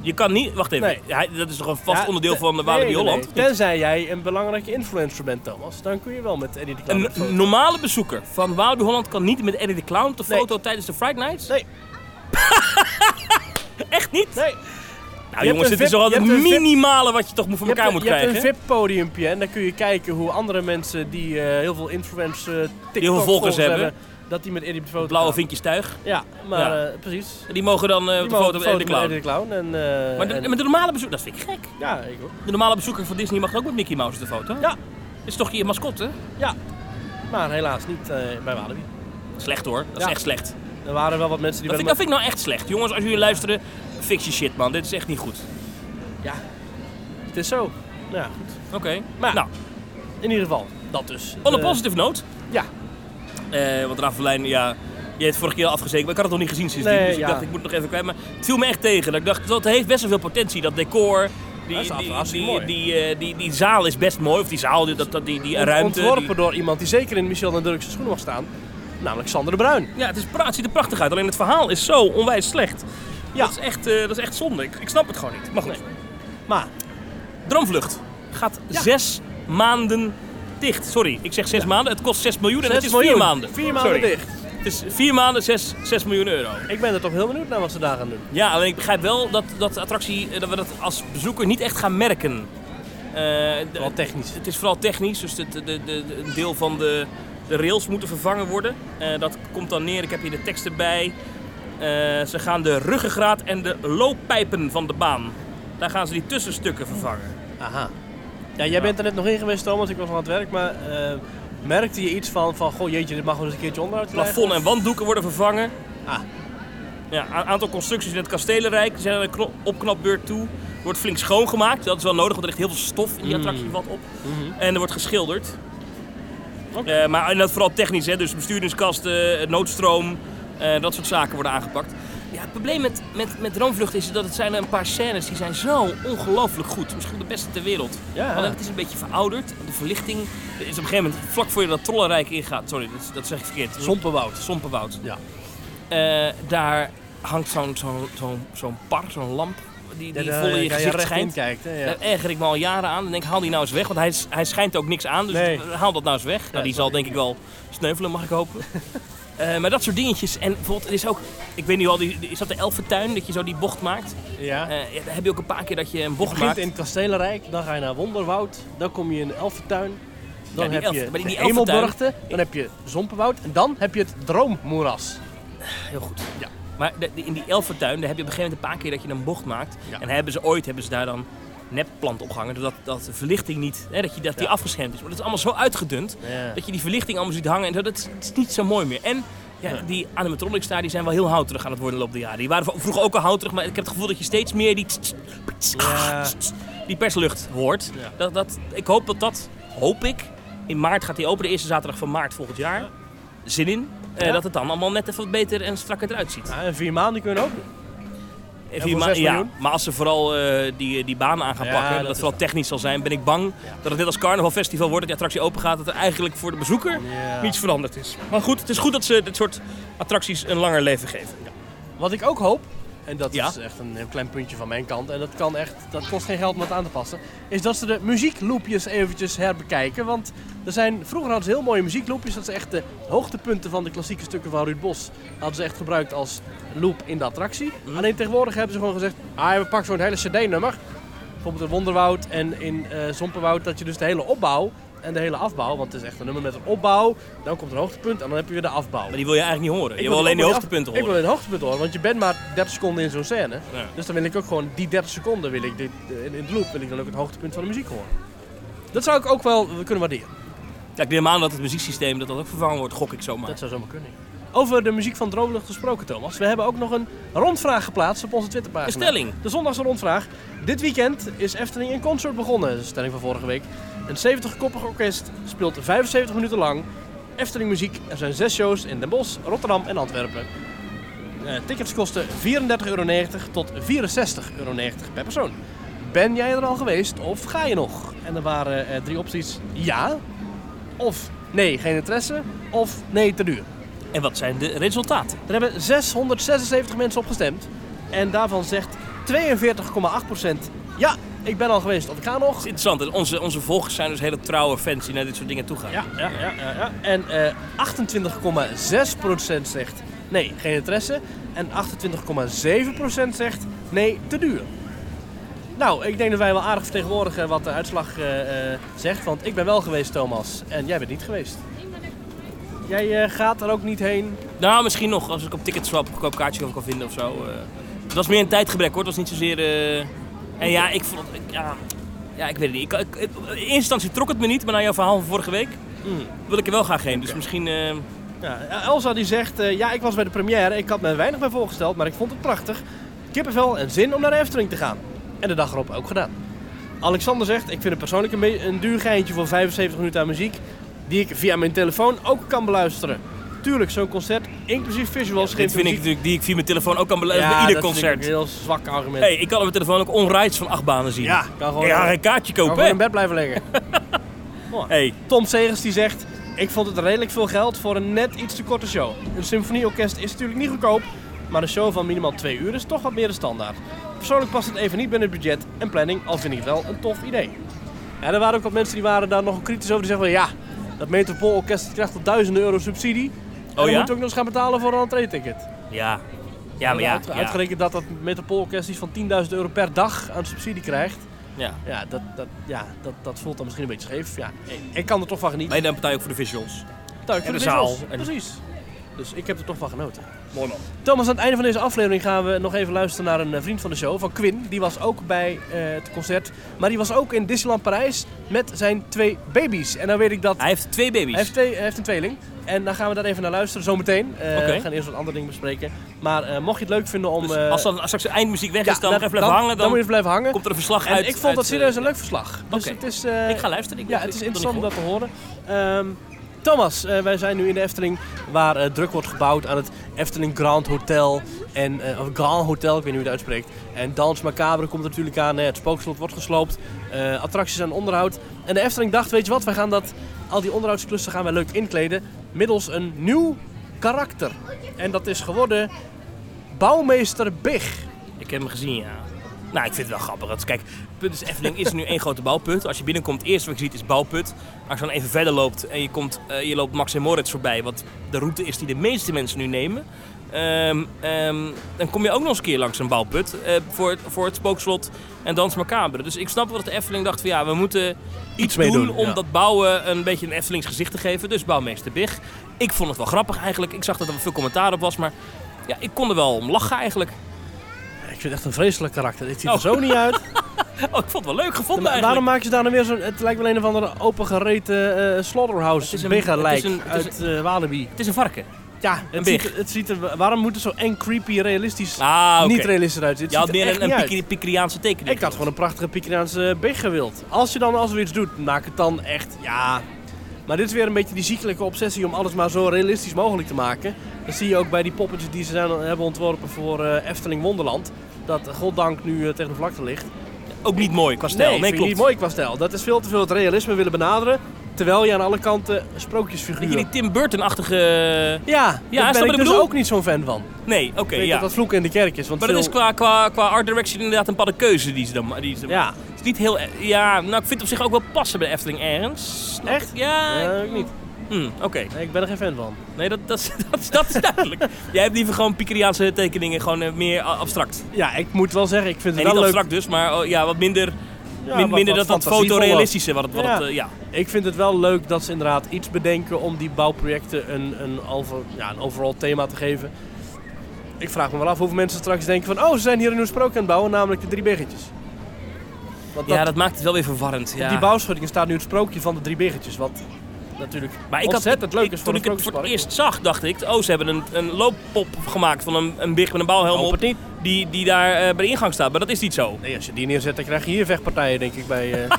S2: Je kan niet... Wacht even.
S1: Nee.
S2: Hij, dat is toch een vast
S1: Ja,
S2: onderdeel
S1: te-
S2: van de
S1: nee,
S2: Walibi
S1: nee,
S2: Holland?
S1: nee. Tenzij jij een belangrijke influencer bent, Thomas. Dan kun je wel met Eddie de Clown. op foto.
S2: Een normale bezoeker van Walibi Holland kan niet met Eddie de Clown op de
S1: Nee.
S2: foto tijdens de Fright Nights?
S1: Nee.
S2: *laughs* Echt niet?
S1: Nee,
S2: Nou
S1: Je
S2: jongens,
S1: hebt
S2: dit
S1: een
S2: is toch
S1: VIP-
S2: altijd
S1: je hebt een VIP-
S2: minimale wat je toch voor elkaar
S1: je
S2: moet
S1: hebt, een-
S2: krijgen?
S1: Je hebt een VIP-podiumpje en dan kun je kijken hoe andere mensen die eh, heel veel influence eh, TikTok
S2: heel veel volgers hebben.
S1: dat die met Eddie op de foto
S2: Blauwe
S1: gaan.
S2: vinkjes tuig.
S1: Ja, maar
S2: Ja.
S1: eh, precies.
S2: Die mogen dan eh, op
S1: Die
S2: de
S1: mogen
S2: foto met Eddie de
S1: met
S2: Clown.
S1: Eddie de Clown. En, eh,
S2: Maar de,
S1: en-
S2: maar de normale bezoeker, dat vind ik gek.
S1: Ja, ik ook.
S2: De normale bezoeker van Disney mag ook met Mickey Mouse op de foto.
S1: Ja.
S2: Is toch je mascotte?
S1: Ja, maar helaas niet eh, bij Walibi.
S2: Slecht hoor, dat is
S1: Ja.
S2: echt slecht.
S1: Er waren wel wat mensen die
S2: Dat vind,
S1: wel-
S2: dat vind ik nou echt slecht. Jongens, als jullie luisteren, fix je shit man. Dit is echt niet goed.
S1: Ja, het is zo. Nou Ja, goed.
S2: Oké.
S1: Maar-
S2: nou,
S1: In ieder geval, dat dus.
S2: on a
S1: Eh,
S2: positive note.
S1: ja.
S2: Eh, want Ravelijn, ja, je hebt vorige keer al afgezekerd, maar ik had het nog niet gezien sindsdien.
S1: Nee,
S2: dus ik
S1: ja.
S2: dacht, ik moet nog even kwijt. Maar het viel me echt tegen. Dat ik dacht, dat heeft best wel veel potentie, dat decor. Die,
S1: Dat is
S2: die,
S1: hartstikke
S2: die,
S1: mooi.
S2: die, eh, die, die zaal is best mooi. Of die zaal, die, dat, dat, die, die ruimte.
S1: Ontworpen
S2: die-
S1: door iemand die zeker in Michel en Dirkse schoenen mag staan. Namelijk Sander de Bruin.
S2: ja, het, is, pra- het ziet er prachtig uit. Alleen het verhaal is zo onwijs slecht.
S1: Ja.
S2: Dat, is echt, eh, dat is echt zonde. Ik, ik snap het gewoon niet. Maar goed.
S1: Maar
S2: Droomvlucht gaat
S1: Ja.
S2: zes maanden dicht. Sorry, ik zeg zes maanden. Het kost 6 miljoen en
S1: zes
S2: het is
S1: miljoen.
S2: vier maanden.
S1: Vier maanden
S2: Sorry.
S1: dicht.
S2: Het is vier maanden, 6, 6 miljoen euro.
S1: Ik ben er toch heel benieuwd naar wat ze daar gaan doen.
S2: Ja, alleen ik begrijp wel dat, dat de attractie, eh, dat we dat als bezoeker niet echt gaan merken. Eh, d-
S1: Wel technisch.
S2: het is vooral technisch, dus het- de, de, de, een deel van de, de rails moeten vervangen worden. Eh, dat komt dan neer, ik heb hier de teksten bij. Eh, ze gaan de ruggengraat en de looppijpen van de baan, daar gaan ze die tussenstukken vervangen.
S1: Aha. Ja, jij bent er net nog in geweest, Thomas. Ik was nog aan het werk, maar eh, merkte je iets van, van goh, jeetje, dit mag wel eens een keertje onderhoud krijgen?
S2: Plafond en wanddoeken worden vervangen.
S1: Ah.
S2: Ja, een aantal constructies in het kastelenrijk zijn aan een kno- opknapbeurt toe. Er wordt flink schoongemaakt, dat is wel nodig, want er ligt heel veel stof in die attractie wat op.
S1: Mhm.
S2: En er wordt geschilderd. Eh, maar en dat vooral technisch, hè? dus besturingskasten, noodstroom, eh, dat soort zaken worden aangepakt. Ja, het probleem met, met, met Droomvlucht is dat het zijn een paar scènes die zijn zo ongelooflijk goed. Misschien de beste ter wereld.
S1: Ja.
S2: Alleen het is een beetje verouderd. De verlichting is op een gegeven moment vlak voor je dat trollenrijk ingaat. Sorry, dat, dat zeg ik verkeerd.
S1: Sompenwoud.
S2: Sompenwoud.
S1: Ja.
S2: Eh, daar hangt zo'n zo'n zo'n zo'n par, zo'n lamp die, die vol in je
S1: Als je
S2: gezicht
S1: recht in
S2: schijnt.
S1: kijkt, hè, ja.
S2: Daar erger ik me al jaren aan. Dan denk ik, haal die nou eens weg. Want hij, s- hij schijnt ook niks aan. Dus
S1: Nee.
S2: eh, haal dat nou eens weg. nou, die zal denk ik wel sneuvelen, mag ik
S1: *laughs*
S2: hopen. Eh, maar dat soort dingetjes. En bijvoorbeeld, er is ook... Ik weet niet al, die, die- is dat de Elfentuin? Dat je zo die bocht maakt?
S1: ja.
S2: Eh, ja, daar heb je ook een paar keer dat je een bocht
S1: begint
S2: maakt.
S1: in het Kastelenrijk, dan ga je naar Wonderwoud, dan kom je in Elfentuin. Dan
S2: Ja, die
S1: heb
S2: Elf-
S1: je
S2: maar die-
S1: de
S2: die Elfentuin-
S1: Hemelburgten, dan heb je Zompenwoud en dan heb je het Droommoeras.
S2: Heel goed.
S1: Ja.
S2: Maar de- de- in die Elfentuin, daar heb je op een gegeven moment een paar keer dat je een bocht maakt.
S1: Ja.
S2: En hebben ze ooit hebben ze daar dan nepplant opgehangen. Zodat dat de verlichting niet... Hè, dat je, dat die
S1: Ja.
S2: afgeschermd is. Maar dat is allemaal zo uitgedund.
S1: Ja.
S2: Dat je die verlichting allemaal ziet hangen en zo, dat is, dat is niet zo mooi meer. En ja, die animatronics daar die zijn wel heel houterig aan het worden de loop der jaren. Die waren v- vroeger ook al houterig, maar ik heb het gevoel dat je steeds meer die, tss, tss, tss,
S1: Ja.
S2: tss, tss, die perslucht hoort.
S1: Ja.
S2: Dat, dat, ik hoop dat dat, hoop ik, in maart gaat die open, de eerste zaterdag van maart volgend jaar. Zin in. eh,
S1: Ja.
S2: dat het dan allemaal net even wat beter en strakker eruit ziet.
S1: Ja, en vier maanden kunnen ook.
S2: En
S1: voor
S2: vier ma-
S1: zes
S2: ja,
S1: miljoen?
S2: maar als ze vooral eh, die, die banen aan gaan
S1: Ja,
S2: pakken,
S1: dat
S2: dat,
S1: is
S2: het wel technisch zal zijn, ben ik bang dat het net als Carnaval Festival wordt, dat die attractie open gaat, dat er eigenlijk voor de bezoeker
S1: Ja.
S2: niets veranderd is. Maar goed, het is goed dat ze dit soort attracties een langer leven geven.
S1: Wat ik ook hoop, en dat
S2: Ja.
S1: is echt een heel klein puntje van mijn kant, en dat kan echt, dat kost geen geld om dat aan te passen, is dat ze de muziekloopjes eventjes herbekijken. Want er zijn, vroeger hadden ze heel mooie muziekloopjes, dat ze echt de hoogtepunten van de klassieke stukken van Ruud Bos, hadden ze echt gebruikt als loop in de attractie. Alleen tegenwoordig hebben ze gewoon gezegd, ah we pakken zo'n hele cd-nummer, bijvoorbeeld in Wonderwoud en in eh Zompenwoud, dat je dus de hele opbouw en de hele afbouw. Want het is echt een nummer met een opbouw. Dan komt een hoogtepunt en dan heb je weer de afbouw.
S2: Maar die wil je eigenlijk niet horen.
S1: Ik
S2: je
S1: wil
S2: wil alleen die
S1: ook
S2: hoogtepunten
S1: Ik wil
S2: horen.
S1: een hoogtepunt horen, want je bent maar 30 seconden in zo'n scène.
S2: Ja.
S1: Dus dan wil ik ook gewoon die 30 seconden wil ik dit, eh, in, in de loop wil ik dan ook het hoogtepunt van de muziek horen. Dat zou ik ook wel kunnen waarderen.
S2: Ja, ik neem aan dat het muzieksysteem dat dat ook vervangen wordt, gok ik zomaar.
S1: Dat zou zomaar kunnen. Over de muziek van Droomlucht gesproken, Thomas. We hebben ook nog een rondvraag geplaatst op onze Twitterpagina.
S2: Een stelling.
S1: De zondagse rondvraag. Dit weekend is Efteling in concert begonnen. Dat is een stelling van vorige week. Een 70-koppig orkest speelt 75 minuten lang Efteling muziek. Er zijn zes shows in Den Bosch, Rotterdam en Antwerpen. Eh, tickets kosten 34,90 euro tot 64,90 euro per persoon. Ben jij er al geweest of ga je nog? En er waren eh, drie opties. Ja, of nee, geen interesse, of nee, te duur.
S2: En wat zijn de resultaten?
S1: Er hebben 676 mensen op gestemd. En daarvan zegt 42,8% ja, ik ben al geweest of ik ga nog.
S2: Het is interessant, onze, onze volgers zijn dus hele trouwe fans die naar dit soort dingen toe gaan.
S1: Ja, ja, ja, ja. ja. En eh 28,6% zegt nee, geen interesse. En 28,7% zegt nee, te duur. Nou, ik denk dat wij wel aardig vertegenwoordigen wat de uitslag eh, eh, zegt. Want ik ben wel geweest, Thomas. En jij bent niet geweest. Jij eh, gaat er ook niet heen.
S2: Nou, misschien nog als ik op ticketswap een goedkoop kaartje over kan vinden of zo. eh. Het was meer een tijdgebrek hoor, het was niet zozeer... eh, En ja, ik vond... ik- ja, ja, ik weet het niet. Ik, ik- in eerste instantie trok het me niet, maar na jouw verhaal van vorige week wil ik er wel graag heen. Dus misschien... eh,
S1: Ja, Elsa die zegt, eh, ja ik was bij de première, ik had me er weinig bij voorgesteld, maar ik vond het prachtig. Kippenvel en zin om naar de Efteling te gaan. En de dag erop ook gedaan. Alexander zegt, ik vind het persoonlijk een, be- een duur geintje voor 75 minuten aan muziek, die ik via mijn telefoon ook kan beluisteren. Tuurlijk, zo'n concert, inclusief visuals,
S2: dit
S1: geeft
S2: vind ik
S1: muziek...
S2: natuurlijk, die ik via mijn telefoon ook kan beluisteren
S1: ja,
S2: bij ieder
S1: dat vind ik
S2: concert.
S1: een heel zwak argument.
S2: Hey, ik kan op mijn telefoon ook onrides van acht banen zien.
S1: Ja, kan gewoon,
S2: Ik ga een kaartje
S1: kan
S2: kopen,
S1: gewoon
S2: hè?
S1: in bed blijven liggen.
S2: Hey,
S1: Tom Segers die zegt: Ik vond het redelijk veel geld voor een net iets te korte show. Een symfonieorkest is natuurlijk niet goedkoop, maar een show van minimaal twee uur is toch wat meer de standaard. Persoonlijk past het even niet binnen het budget en planning, al vind ik het wel een tof idee. En er waren ook wat mensen die waren daar nogal kritisch over. Die zeggen van ja, dat metropoolorkest krijgt al duizenden euro subsidie. En dan
S2: ja?
S1: moet je ook nog eens gaan betalen voor een entree-ticket.
S2: ja. Ja, maar ja.
S1: Uit-
S2: ja.
S1: Uitgerekend dat dat metropoolorkest iets van 10.000 euro per dag aan subsidie krijgt.
S2: ja.
S1: Ja, dat, dat, ja dat, dat voelt dan misschien een beetje scheef. Ja, ik- ik kan er toch van genieten.
S2: Maar dan betaal je ook voor de visuals.
S1: Tuin voor
S2: En
S1: de,
S2: de
S1: zaal.
S2: zaal. En-
S1: Precies. Dus ik heb er toch van genoten.
S2: Mooi man.
S1: Thomas, aan het einde van deze aflevering gaan we nog even luisteren naar een eh, vriend van de show, van Quinn. Die was ook bij eh, het concert, maar die was ook in Disneyland Parijs met zijn twee baby's. En dan weet ik dat...
S2: Hij heeft twee baby's.
S1: Hij heeft, twee, hij heeft een tweeling. En dan gaan we daar even naar luisteren, zometeen. Eh
S2: Oké.
S1: We gaan eerst wat andere dingen bespreken. Maar eh, mocht je het leuk vinden om...
S2: Dus
S1: eh,
S2: als dan als straks de eindmuziek weg
S1: ja,
S2: is, dan nog even blijven hangen.
S1: Dan
S2: Dan,
S1: moet je even blijven hangen.
S2: komt er een verslag
S1: En
S2: uit.
S1: ik vond
S2: uit,
S1: dat
S2: eh,
S1: serieus een leuk verslag. Dus
S2: Oké.
S1: het is... eh,
S2: ik ga luisteren. Ik
S1: ja,
S2: weet-
S1: het is
S2: ik heb
S1: interessant om
S2: nog
S1: dat te horen. Ehm, Thomas, eh, wij zijn nu in de Efteling, waar eh, druk wordt gebouwd aan het Efteling Grand Hotel. En, eh, of Grand Hotel, ik weet niet hoe je het uitspreekt. En Dans Macabre komt er natuurlijk aan, hè, het spookslot wordt gesloopt, eh, attracties aan onderhoud. En de Efteling dacht, weet je wat, wij gaan dat, al die onderhoudsklussen gaan wij leuk inkleden middels een nieuw karakter. En dat is geworden Bouwmeester Big.
S2: gehoord. Ik heb hem gezien, ja. Nou, ik vind het wel grappig. Dat, kijk, Punt is Efteling is nu één *laughs* grote bouwput. Als je binnenkomt, het eerste wat je ziet is bouwput. Als je dan even verder loopt en je, komt, eh, je loopt Max en Moritz voorbij, wat de route is die de meeste mensen nu nemen. ehm, ehm, dan kom je ook nog eens een keer langs een bouwput eh, voor, het, voor het spookslot en Dans Macabre. Dus ik snap wel dat de Efteling dacht van ja, we moeten iets
S1: mee
S2: doen,
S1: doen,
S2: om
S1: ja.
S2: dat bouwen een beetje een Eftelings gezicht te geven. Dus bouwmeester Big. Ik vond het wel grappig eigenlijk. Ik zag dat er veel commentaar op was, maar ja, ik kon er wel om lachen eigenlijk.
S1: Ik vind het echt een vreselijk karakter. Dit ziet er
S2: Oh.
S1: zo niet uit.
S2: Oh, ik vond het wel leuk gevonden
S1: Maar
S2: eigenlijk.
S1: waarom maken ze daar dan weer zo'n... Het lijkt wel een of andere opengereten eh slaughterhouse.
S2: Het is
S1: Het
S2: een-
S1: lijk
S2: het is een- het
S1: uit
S2: is
S1: eh, Walibi.
S2: Het is een varken.
S1: Ja,
S2: een
S1: het ziet,
S2: big.
S1: er- het ziet er... Waarom moet het zo eng, creepy, realistisch...
S2: Ah, oké.
S1: Niet realistisch uit? Het
S2: Je
S1: ziet
S2: had
S1: er
S2: meer
S1: echt
S2: een,
S1: niet
S2: een
S1: uit.
S2: pikri- pikriaanse tekening.
S1: Ik had gewoon een prachtige Pikeraanse big gewild. Als je dan als er iets doet, maak het dan echt... Ja... Maar dit is weer een beetje die ziekelijke obsessie om alles maar zo realistisch mogelijk te maken. Dat zie je ook bij die poppetjes die ze zijn, hebben ontworpen voor eh, Efteling Wonderland. Dat eh, goddank nu eh, tegen de vlakte ligt.
S2: Ook niet mooi qua stijl. Nee,
S1: vind ik
S2: klopt.
S1: niet mooi qua stijl. Dat is veel te veel het realisme willen benaderen. Terwijl je aan alle kanten
S2: Weet je,
S1: sprookjesfiguren...
S2: die Tim Burton-achtige...
S1: Ja, daar ben
S2: snap wat
S1: ik
S2: ik
S1: dus
S2: bedoel?
S1: ook niet zo'n fan van.
S2: Nee, oké,
S1: Ik weet
S2: ja.
S1: dat dat vloeken in de kerk is. Want
S2: Maar dat is
S1: veel-
S2: qua, qua, qua art direction inderdaad een padde keuze die ze dan... Die ze dan
S1: Ja,
S2: Het is niet heel... Ja, nou, ik vind het op zich ook wel passen bij Efteling ergens. Snap
S1: Echt?
S2: ik. Ja.
S1: eh, ik niet.
S2: Hm, oké.
S1: Nee, ik ben er geen fan van.
S2: Nee, dat, dat, dat, is- *laughs* dat is duidelijk. Jij hebt liever gewoon pikriaanse tekeningen, gewoon eh, meer a- abstract.
S1: Ja, ik moet wel zeggen, ik vind
S2: Nee,
S1: het
S2: niet
S1: wel leuk.
S2: abstract dus, maar oh, ja, wat minder... Min-
S3: wat-
S2: minder dat
S3: wat
S2: dat
S3: fantasievoller.
S2: fotorealistische wat het, wat
S3: Ja.
S2: het, eh, ja.
S1: Ik vind het wel leuk dat ze inderdaad iets bedenken om die bouwprojecten een, een, over, ja, een overal thema te geven. Ik vraag me wel af hoeveel mensen straks denken van... Oh, ze zijn hier een nieuw sprook aan het bouwen, namelijk de drie biggetjes. Want
S2: ja,
S1: dat,
S2: dat maakt het wel weer verwarrend.
S1: op
S2: Ja.
S1: die bouwschuttingen staat nu het sprookje van de drie biggetjes. Wat natuurlijk
S2: Maar ik had
S1: ontzettend leuk is voor
S2: Toen
S1: een
S2: ik het voor het
S1: sprookjespark.
S2: eerst zag, dacht ik, oh, ze hebben een, een looppop gemaakt van een, een big met een bouwhelm
S1: Hoop
S2: op.
S1: het niet.
S2: Die, die daar eh, bij de ingang staat. Maar dat is niet zo.
S1: Nee, als je die neerzet, dan krijg je hier vechtpartijen, denk ik, bij...
S2: *laughs*
S1: eh.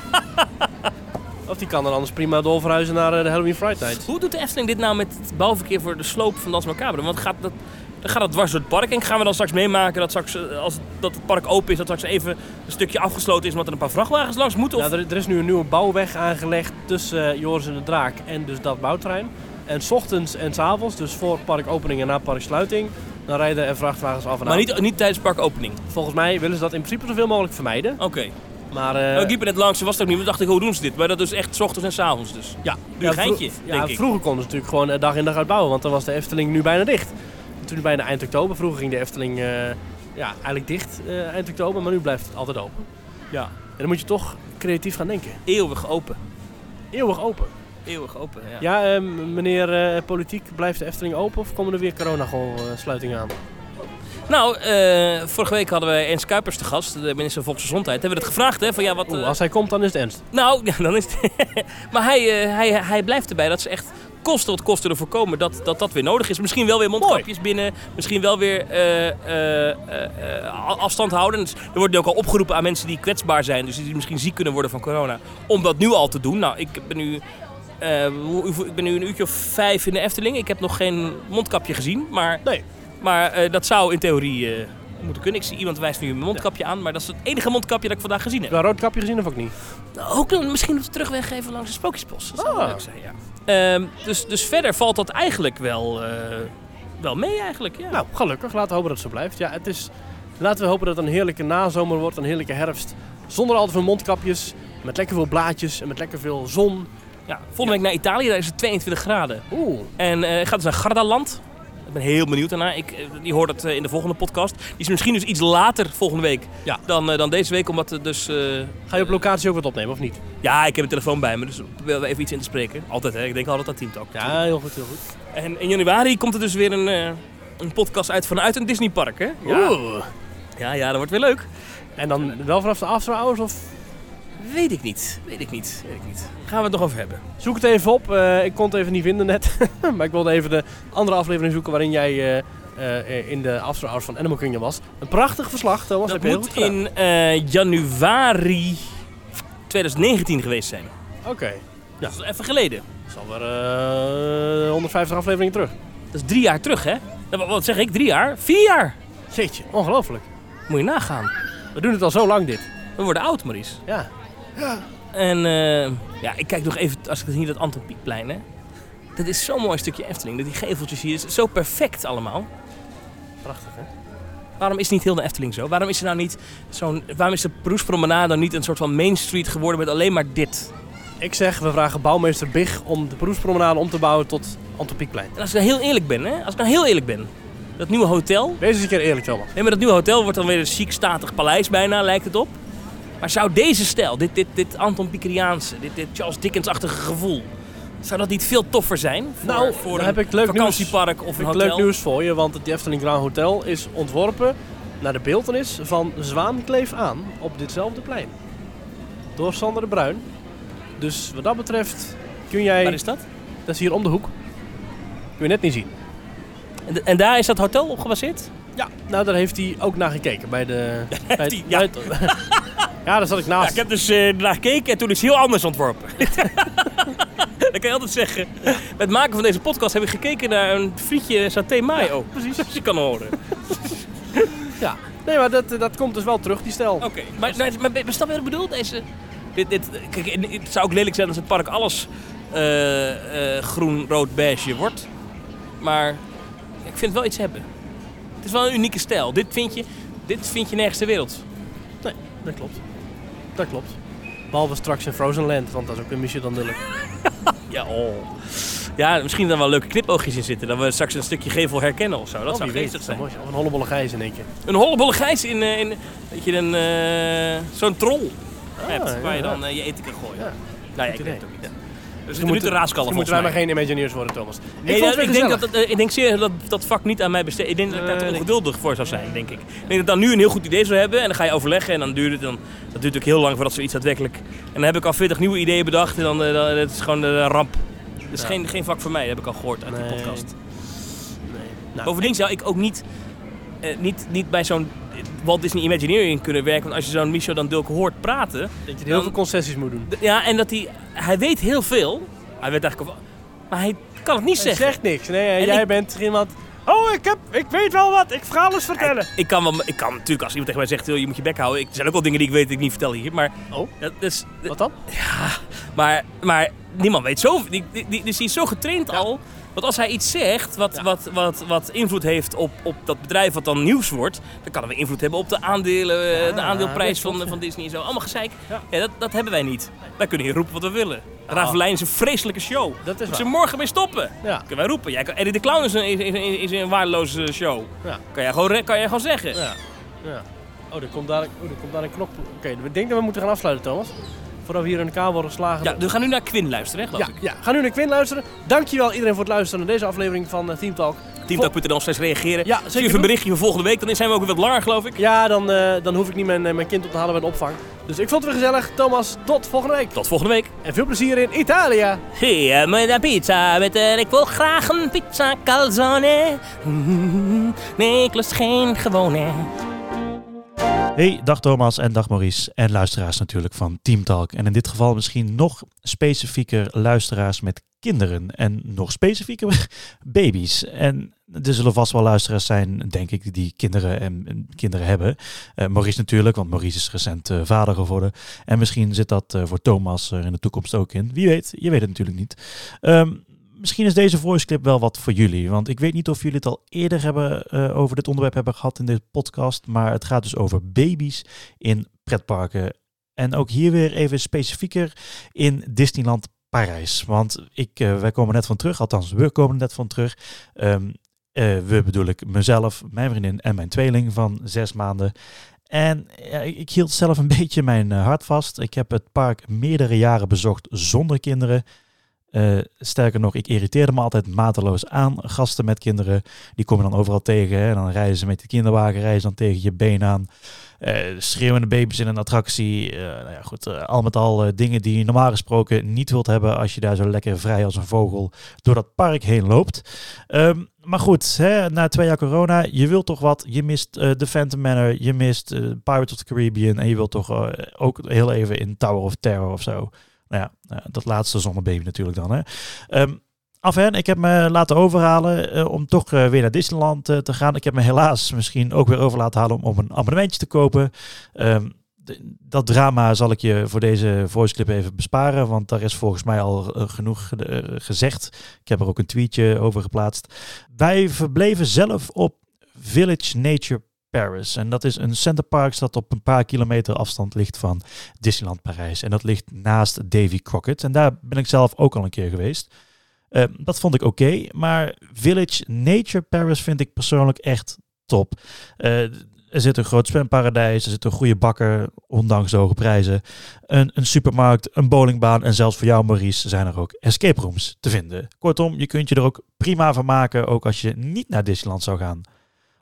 S1: of die kan dan anders prima doorverhuizen naar eh, de Halloween Fright Night.
S2: Hoe doet de Efteling dit nou met het bouwverkeer voor de sloop van Das Macabre? Want gaat dat, dan gaat dat dwars door het park. En gaan we dan straks meemaken dat, straks, eh, als, dat het park open is, dat straks even een stukje afgesloten is omdat er een paar vrachtwagens langs moeten? Of...
S1: Nou, er, er is nu een nieuwe bouwweg aangelegd tussen eh, Joris en de Draak en dus dat bouwterrein. En 's ochtends en 's avonds, dus voor parkopening en na parksluiting, dan rijden er vrachtwagens af en
S2: maar
S1: aan.
S2: niet, niet tijdens parkopening. Oké.
S1: Volgens mij willen ze dat in principe zoveel mogelijk vermijden. Maar eh,
S2: Nou, ik liep er net langs, en was het ook niet. We dachten, ik, hoe doen ze dit? Maar dat is echt 's ochtends en 's avonds dus.
S1: ja,
S2: duur geintje,
S1: vro-
S2: denk
S1: ja,
S2: ik.
S1: vroeger konden ze natuurlijk gewoon eh, dag in dag uit bouwen, want dan was de Efteling nu bijna dicht. Toen bijna eind oktober, vroeger ging de Efteling eh, ja, eigenlijk dicht eh, eind oktober, maar nu blijft het altijd open.
S2: Ja.
S1: En dan moet je toch creatief gaan denken.
S2: Eeuwig open.
S1: Eeuwig open.
S2: Eeuwig open, ja.
S1: Ja, eh, meneer eh, Politiek, blijft de Efteling open of komen er weer coronagol-sluitingen aan?
S2: Nou, eh, vorige week hadden wij Ernst Kuipers te gast, de minister van Volksgezondheid. Hebben we het gevraagd, hè? Van, ja, wat,
S1: Oeh,
S2: eh,
S1: als hij komt, dan is het ernst.
S2: Nou, *laughs* ja, dan is het... maar hij, eh, hij, hij blijft erbij dat ze echt kosten wat kosten ervoor komen dat, dat dat weer nodig is. Misschien wel weer mondkapjes binnen. Misschien wel weer eh, eh, eh, eh, a- afstand houden. Dus er wordt nu ook al opgeroepen aan mensen die kwetsbaar zijn. Dus die misschien ziek kunnen worden van corona. Om dat nu al te doen. Nou, ik ben nu... eh, hoe- hoeveel- ik ben nu een uurtje of vijf in de Efteling. Ik heb nog geen mondkapje gezien. Maar,
S1: Nee.
S2: maar eh, dat zou in theorie eh, moeten kunnen. Ik zie iemand wijst nu een mondkapje aan. Maar dat is het enige mondkapje dat ik vandaag gezien heb.
S1: Heb je een rood kapje gezien of ook niet?
S2: Ook dan misschien op de terugweg even langs de Sprookjesbos. Dat zou wel
S1: Ah.
S2: leuk zijn, ja. Ehm, dus, dus verder valt dat eigenlijk wel, eh, wel mee eigenlijk, ja.
S1: Nou, gelukkig. Laten we hopen dat het zo blijft. Ja, het is... Laten we hopen dat het een heerlijke nazomer wordt, een heerlijke herfst. Zonder al te veel mondkapjes, met lekker veel blaadjes en met lekker veel zon.
S2: ja, volgende week naar Italië, daar is het 22 graden.
S1: Oeh.
S2: En eh ik ga dus naar Gardaland. Ik ben heel benieuwd daarna. Ik, eh, die hoort het eh, in de volgende podcast. Die is misschien dus iets later volgende week
S1: Ja.
S2: dan, eh, dan deze week. Omdat er dus... eh,
S1: Ga je op locatie ook wat opnemen of niet?
S2: ja, ik heb een telefoon bij me, dus probeer even iets in te spreken. Altijd hè, ik denk altijd aan Team Talk.
S1: Ja, heel goed, heel goed.
S2: En in januari komt er dus weer een, eh, een podcast uit vanuit een Disneypark, hè?
S1: Oeh.
S2: Ja, ja, dat wordt weer leuk.
S1: En dan wel vanaf de after hours of...
S2: Weet ik niet. Weet ik niet. Weet ik niet. Gaan we het nog over hebben.
S1: Zoek het even op. Eh, ik kon het even niet vinden net. *laughs* maar ik wilde even de andere aflevering zoeken waarin jij... eh, eh, in de after hours van Animal Kingdom was. Een prachtig verslag, Thomas. heb
S2: dat
S1: je heel
S2: moet
S1: goed gedaan.
S2: in eh, januari 2019 geweest zijn.
S1: Oké.
S2: Dat is even geleden.
S1: Dat is alweer eh 150 afleveringen terug.
S2: Dat is drie jaar terug, hè? Nou, wa- wat zeg ik? Drie jaar? Vier jaar!
S1: Jeetje, ongelooflijk.
S2: Moet je nagaan.
S1: We doen het al zo lang dit.
S2: We worden oud, Maurice.
S1: Ja.
S2: En eh, ja, ik kijk nog even, als ik het hier dat Anton Pieckplein, hè? Dat is zo'n mooi stukje Efteling. Dat die geveltjes hier, is zo perfect allemaal.
S1: Prachtig, hè?
S2: Waarom is niet heel de Efteling zo? Waarom is er nou niet zo'n... Waarom is de Proespromenade dan niet een soort van Main Street geworden met alleen maar dit?
S1: Ik zeg, we vragen bouwmeester Big om de beroepspromenade om te bouwen tot Antropiekplein.
S2: En als ik nou heel eerlijk ben, hè? Als ik nou heel eerlijk ben. Dat nieuwe hotel.
S1: Wees eens een keer eerlijk, Thomas.
S2: Nee, maar dat nieuwe hotel wordt dan weer een chic statig paleis bijna, lijkt het op. Maar zou deze stijl, dit, dit, dit Anton Pickeriaanse, dit, dit Charles Dickens-achtige gevoel... Zou dat niet veel toffer zijn? Voor,
S1: Nou,
S2: voor
S1: dan
S2: een
S1: heb ik leuk
S2: vakantiepark of
S1: Heb
S2: een
S1: ik
S2: hotel?
S1: leuk nieuws voor je, want het Efteling Grand Hotel is ontworpen naar de beeltenis van Zwaankleef aan op ditzelfde plein. Door Sander de Bruin. Dus wat dat betreft kun jij...
S2: Waar is dat?
S1: Dat is hier om de hoek. Kun je net niet zien.
S2: En, en daar is dat hotel op gebaseerd?
S1: Ja, nou daar heeft hij ook naar gekeken bij
S2: *laughs*
S1: de. bij het-
S2: hij,
S1: bij het- ja, daar zat ik naast.
S2: Ja, ik heb dus eh, naar gekeken en toen is het heel anders ontworpen. *laughs* dat kan je altijd zeggen. Met het maken van deze podcast heb ik gekeken naar een frietje saté mayo. precies. Als je kan horen.
S1: Ja. Nee, maar dat, dat komt dus wel terug, die stijl.
S2: Oké, maar, maar, maar, maar snap je wat ik bedoel? Deze, dit, dit, kijk, en het zou ook lelijk zijn als het park alles eh, eh, groen, rood, beige wordt. Maar ik vind het wel iets hebben. Het is wel een unieke stijl. Dit vind je, dit vind je nergens ter wereld.
S1: Nee, dat klopt. Dat klopt. Behalve straks in Frozen Land, want dat is ook een missie dan duidelijk.
S2: Ja, oh. ja misschien dan wel leuke knipoogjes in zitten. Dat we straks een stukje gevel herkennen of
S1: Oh,
S2: zo. Dat zou geestig zijn.
S1: Of een Dus hollebolle gijs in één keer.
S2: Een hollebolle gijs in, eh, in weet je, een, eh, zo'n troll. hebt.
S1: Ah,
S2: waar je
S1: ja,
S2: dan eh, je eten kan gooien.
S1: Ja.
S2: Nou ja, ik
S1: idee.
S2: weet het ook niet. Dus
S1: Je
S2: er
S1: moet
S2: moeten raaskallen volgens
S1: moeten wij
S2: mij.
S1: maar geen Imagineers worden, Thomas.
S2: Nee,
S1: ik vond
S2: dat-
S1: het weer
S2: ik, denk dat,
S1: gezellig.
S2: dat, eh, ik denk zeer dat dat vak niet aan mij besteed. Ik denk dat ik daar
S1: Nee,
S2: te
S1: nee.
S2: ongeduldig voor zou zijn, denk ik. Ik denk dat dan nu een heel goed idee zou hebben en dan ga je overleggen en dan duurt het dan. Dat duurt ook heel lang voordat zoiets daadwerkelijk. En dan heb ik al 40 nieuwe ideeën bedacht en dan, eh, dan het is gewoon eh, een ramp. Dat is
S1: Ja.
S2: geen, geen vak voor mij, dat heb ik al gehoord uit die
S1: Nee.
S2: podcast.
S1: Nee. Nou,
S2: Bovendien zou ik ook niet, eh, niet, niet bij zo'n Walt Disney Imagineering kunnen werken. Want als je zo'n Michel dan Dulke hoort praten.
S1: dat je heel
S2: dan-
S1: veel concessies moet doen.
S2: d- Ja, en dat hij. Hij weet heel veel. Hij weet eigenlijk. al- Maar hij kan het niet
S1: Hij
S2: zeggen.
S1: zegt niks. Nee,
S2: En
S1: jij
S2: ik-
S1: bent iemand... Oh, ik, heb, ik weet wel wat. Ik verhaal eens vertellen.
S2: Ik kan, wel, ik kan natuurlijk als iemand tegen mij zegt, "Joh, je moet je bek houden. Ik, er zijn ook wel dingen die ik weet die ik niet vertel hier. Maar,
S1: Oh,
S2: dat is,
S1: wat dan?
S2: maar, maar niemand weet zo. Die, die, die- dus die is zo getraind al. Want als hij iets zegt wat,
S1: Ja.
S2: wat, wat, wat invloed heeft op, op dat bedrijf wat dan nieuws wordt, dan kan dat weer invloed hebben op de aandelen, eh,
S1: Ja,
S2: de aandeelprijs
S1: dat klopt,
S2: van,
S1: ja.
S2: van Disney en zo. Allemaal gezeik.
S1: Ja.
S2: Ja. dat, dat hebben wij niet. Wij kunnen hier roepen wat we willen. Ravelijn is een vreselijke show.
S1: Dat is
S2: Moeten ze
S1: waar.
S2: morgen mee stoppen.
S1: Ja.
S2: Kunnen wij roepen. Jij kan, Eddie de Clown is een, is, is, is een waardeloze show.
S1: Ja.
S2: Kan jij gewoon, re- kan jij gewoon zeggen.
S1: Ja. ja. Oh, er komt daar, oh, er komt daar een knop. Oké, ik denk dat we moeten gaan afsluiten, Thomas. Voordat we hier in elkaar worden geslagen.
S2: Ja, we gaan nu naar Quinn luisteren, hè, geloof
S1: ja,
S2: ik.
S1: ja. Ga nu naar Quinn luisteren. Dankjewel iedereen voor het luisteren naar deze aflevering van eh, Team Talk.
S2: Teamtalk.nl slash reageren.
S1: Ja,
S2: Stuur
S1: zeker
S2: even
S1: doen.
S2: een berichtje voor volgende week. Dan zijn we ook weer wat langer, geloof ik.
S1: Ja, dan, eh, dan hoef ik niet mijn, eh, mijn kind op te halen bij de opvang. Dus ik vond het weer gezellig. Thomas, tot volgende week.
S2: Tot volgende week.
S1: En veel plezier in Italië.
S2: Hey, met een pizza met een... Ik wil graag een pizza calzone. Mm, Nee, ik lust geen gewone.
S3: Hey, dag Thomas en dag Maurice. En luisteraars natuurlijk van Team Talk. En in dit geval misschien nog specifieker luisteraars met kinderen. En nog specifieker *laughs* baby's. En er zullen vast wel luisteraars zijn, denk ik, die kinderen en, en kinderen hebben. Eh, Maurice natuurlijk, want Maurice is recent eh, vader geworden. En misschien zit dat eh, voor Thomas er in de toekomst ook in. Wie weet, je weet het natuurlijk niet. Ehm, misschien is deze voice clip wel wat voor jullie. Want ik weet niet of jullie het al eerder hebben, eh, over dit onderwerp hebben gehad in deze podcast. Maar het gaat dus over baby's in pretparken. En ook hier weer even specifieker in Disneyland Parijs. Want ik, eh, wij komen net van terug, althans we komen net van terug. Ehm, eh, we bedoel ik mezelf, mijn vriendin en mijn tweeling van zes maanden. En ja, ik, ik hield zelf een *laughs* beetje mijn eh, hart vast. Ik heb het park meerdere jaren bezocht zonder kinderen. Eh, sterker nog, ik irriteerde me altijd mateloos aan. Gasten met kinderen, die kom je dan overal tegen. Hè? En dan rijden ze met de kinderwagen, rijden ze dan tegen je been aan. Eh, schreeuwende baby's in een attractie. Eh, nou ja, goed, eh, al met al eh, dingen die je normaal gesproken niet wilt hebben als je daar zo lekker vrij als een vogel door dat park heen loopt. Ehm, maar goed, hè, na twee jaar corona, je wilt toch wat. Je mist eh The Phantom Manor, je mist eh, Pirates of the Caribbean en je wilt toch eh, ook heel even in Tower of Terror of zo. Nou ja, eh, dat laatste zonder baby natuurlijk dan. Hè. Ehm, af en ik heb me laten overhalen eh, om toch eh, weer naar Disneyland eh, te gaan. Ik heb me helaas misschien ook weer over laten halen om, om een abonnementje te kopen. Ehm, d- dat drama zal ik je voor deze voice clip even besparen, want daar is volgens mij al eh, genoeg eh, gezegd. Ik heb er ook een tweetje over geplaatst. Wij verbleven zelf op Village Nature Paris. En dat is een centerpark dat op een paar kilometer afstand ligt van Disneyland Parijs. En dat ligt naast Davy Crockett. En daar ben ik zelf ook al een keer geweest. Eh, dat vond ik oké, maar Village Nature Paris vind ik persoonlijk echt top. Eh, er zit een groot zwemparadijs, er zit een goede bakker, ondanks de hoge prijzen. Een, een supermarkt, een bowlingbaan en zelfs voor jou Maurice zijn er ook escape rooms te vinden. Kortom, je kunt je er ook prima van maken, ook als je niet naar Disneyland zou gaan.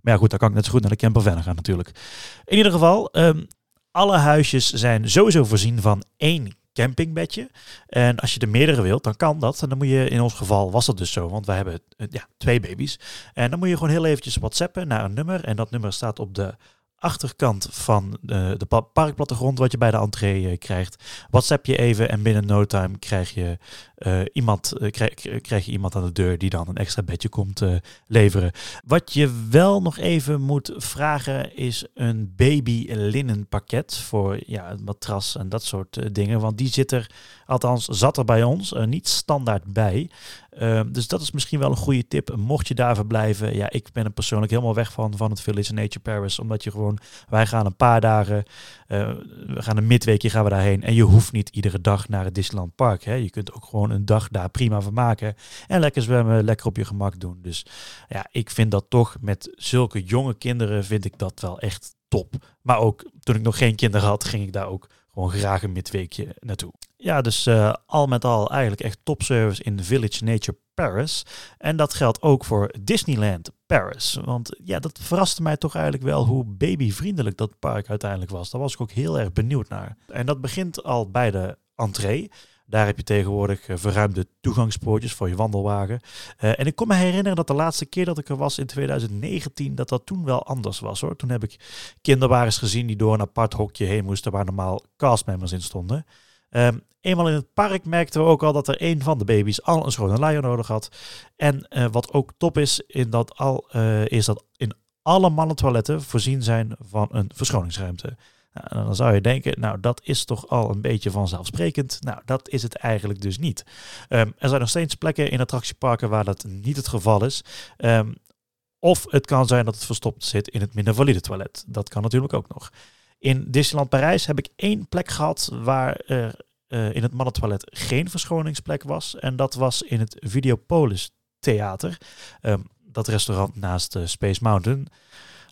S3: Maar ja goed, dan kan ik net zo goed naar de camper verder gaan natuurlijk. In ieder geval, ehm, alle huisjes zijn sowieso voorzien van één campingbedje. En als je er meerdere wilt, dan kan dat. En dan moet je, in ons geval was dat dus zo, want wij hebben eh, ja, twee baby's. En dan moet je gewoon heel eventjes whatsappen naar een nummer. En dat nummer staat op de achterkant van eh, de pa- parkplattegrond, wat je bij de entree eh, krijgt. Whatsapp je even en binnen no time krijg je, eh, iemand, eh, krij- krijg, je iemand aan de deur die dan een extra bedje komt eh, leveren. Wat je wel nog even moet vragen is een baby linnenpakket voor ja, een matras en dat soort eh, dingen. Want die zit er Althans, zat er bij ons eh, niet standaard bij. Ehm, dus dat is misschien wel een goede tip. Mocht je daar verblijven. Ja, ik ben er persoonlijk helemaal weg van, van het Village Nature Paris. Omdat je gewoon, wij gaan een paar dagen, eh, we gaan een midweekje gaan we daarheen. En je hoeft niet iedere dag naar het Disneyland Park. Hè. Je kunt ook gewoon een dag daar prima van maken. En lekker zwemmen, lekker op je gemak doen. Dus ja, ik vind dat toch met zulke jonge kinderen vind ik dat wel echt top. Maar ook toen ik nog geen kinderen had, ging ik daar ook gewoon graag een midweekje naartoe. Ja, dus eh, al met al eigenlijk echt topservice in Village Nature Paris. En dat geldt ook voor Disneyland Paris. Want ja, dat verraste mij toch eigenlijk wel hoe babyvriendelijk dat park uiteindelijk was. Daar was ik ook heel erg benieuwd naar. En dat begint al bij de entree. Daar heb je tegenwoordig eh, verruimde toegangspoortjes voor je wandelwagen. Eh, en ik kon me herinneren dat de laatste keer dat ik er was in 2019, dat dat toen wel anders was hoor. Toen heb ik kinderwagens gezien die door een apart hokje heen moesten waar normaal castmembers in stonden. Ehm, eenmaal in het park merkten we ook al dat er een van de baby's al een schone luier nodig had. En eh, wat ook top is, in dat al, eh, is dat in alle mannentoiletten voorzien zijn van een verschoningsruimte. Nou, en dan zou je denken, nou dat is toch al een beetje vanzelfsprekend. Nou, dat is het eigenlijk dus niet. Ehm, er zijn nog steeds plekken in attractieparken waar dat niet het geval is. Ehm, of het kan zijn dat het verstopt zit in het minder valide toilet. Dat kan natuurlijk ook nog. In Disneyland Parijs heb ik één plek gehad waar er eh, in het mannentoilet geen verschoningsplek was. En dat was in het Videopolis Theater. Ehm, dat restaurant naast eh, Space Mountain.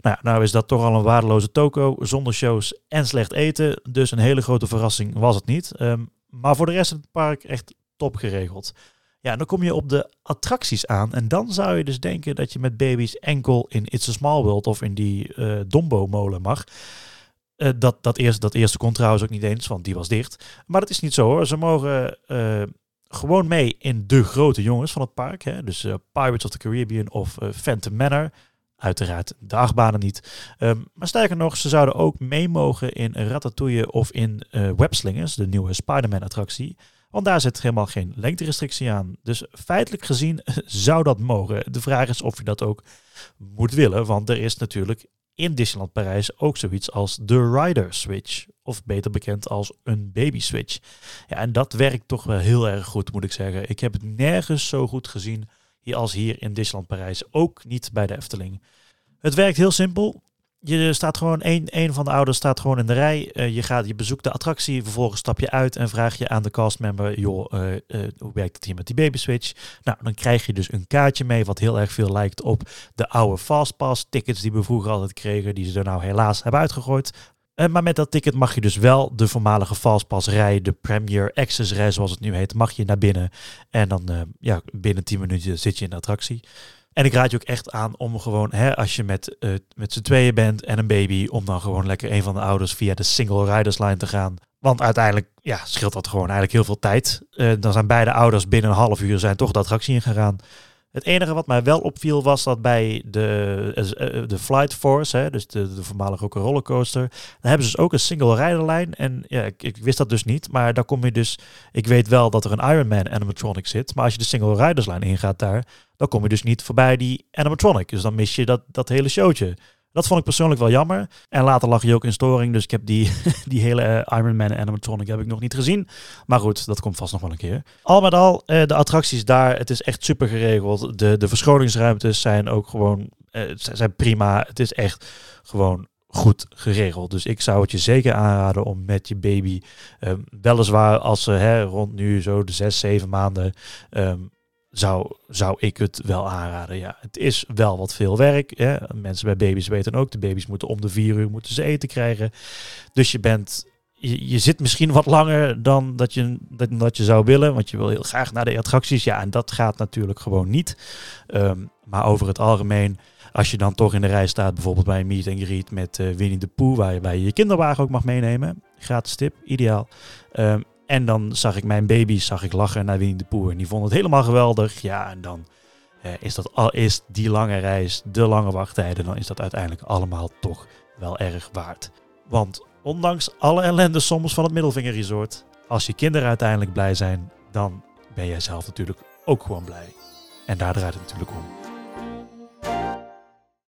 S3: Nou, ja, nou is dat toch al een waardeloze toko zonder shows en slecht eten. Dus een hele grote verrassing was het niet. Ehm, maar voor de rest van het park echt top geregeld. Ja, en dan kom je op de attracties aan. En dan zou je dus denken dat je met baby's enkel in It's a Small World of in die eh, Dombo-molen mag. Eh, dat, dat, eerste, dat eerste kon trouwens ook niet eens, want die was dicht. Maar dat is niet zo hoor. Ze mogen eh, gewoon mee in de grote jongens van het park. Hè? Dus eh, Pirates of the Caribbean of eh, Phantom Manor. Uiteraard de achtbanen niet. Ehm, maar sterker nog, ze zouden ook mee mogen in Ratatouille of in eh Webslingers, de nieuwe Spider-Man-attractie. Want daar zit helemaal geen lengterestrictie aan. Dus feitelijk gezien *laughs* zou dat mogen. De vraag is of je dat ook moet willen. Want er is natuurlijk in Disneyland Parijs ook zoiets als de Rider Switch. Of beter bekend als een Baby Switch. Ja, en dat werkt toch wel heel erg goed, moet ik zeggen. Ik heb het nergens zo goed gezien hier als hier in Disneyland Parijs. Ook niet bij de Efteling. Het werkt heel simpel. Je staat gewoon, één, één van de ouders staat gewoon in de rij. Eh, je, gaat, je bezoekt de attractie, vervolgens stap je uit en vraag je aan de castmember... joh, eh, eh, hoe werkt het hier met die baby switch? Nou, dan krijg je dus een kaartje mee wat heel erg veel lijkt op de oude Fastpass tickets die we vroeger altijd kregen, die ze er nou helaas hebben uitgegooid. Eh, maar met dat ticket mag je dus wel de voormalige Fastpass rij, de Premier Access rij zoals het nu heet, mag je naar binnen. En dan eh, ja, binnen 10 minuten zit je in de attractie. En ik raad je ook echt aan om gewoon, hè, als je met, eh, met z'n tweeën bent en een baby, om dan gewoon lekker een van de ouders via de single riders line te gaan. Want uiteindelijk ja, scheelt dat gewoon eigenlijk heel veel tijd. Eh, dan zijn beide ouders binnen een half uur zijn toch de attractie ingegaan. Het enige wat mij wel opviel was dat bij de, eh, eh, de Flight Force, hè, dus de, de voormalige ook een rollercoaster, daar hebben ze dus ook een single rijderlijn. En ja, ik, ik wist dat dus niet, maar daar kom je dus, ik weet wel dat er een Iron Man animatronic zit, maar als je de single riderslijn ingaat daar, dan kom je dus niet voorbij die animatronic. Dus dan mis je dat, dat hele showtje. Dat vond ik persoonlijk wel jammer. En later lag je ook in storing, dus ik heb die, *laughs* die hele eh, Iron Man animatronic heb ik nog niet gezien. Maar goed, dat komt vast nog wel een keer. Al met al, eh, de attracties daar, het is echt super geregeld. De, de verschoningsruimtes zijn ook gewoon eh, z- zijn prima. Het is echt gewoon goed geregeld. Dus ik zou het je zeker aanraden om met je baby, ehm, weliswaar als ze hè, rond nu zo de zes, zeven maanden, ehm, zou, zou ik het wel aanraden. Ja, het is wel wat veel werk. Hè. Mensen bij baby's weten ook, de baby's moeten om de vier uur moeten ze eten krijgen. Dus je bent je, je zit misschien wat langer dan dat je, dat, dat je zou willen. Want je wil heel graag naar de attracties. Ja, en dat gaat natuurlijk gewoon niet. Ehm, maar over het algemeen, als je dan toch in de rij staat, bijvoorbeeld bij een meet and greet met eh, Winnie de Pooh, waar je, waar je je kinderwagen ook mag meenemen. Gratis tip, ideaal. Ehm, en dan zag ik mijn baby's zag ik lachen naar Winnie de Pooh. En die vonden het helemaal geweldig. Ja, en dan eh, is, dat al, is die lange reis, de lange wachttijden, dan is dat uiteindelijk allemaal toch wel erg waard. Want ondanks alle ellende soms van het Middelvinger Resort, als je kinderen uiteindelijk blij zijn, dan ben jij zelf natuurlijk ook gewoon blij. En daar draait het natuurlijk om.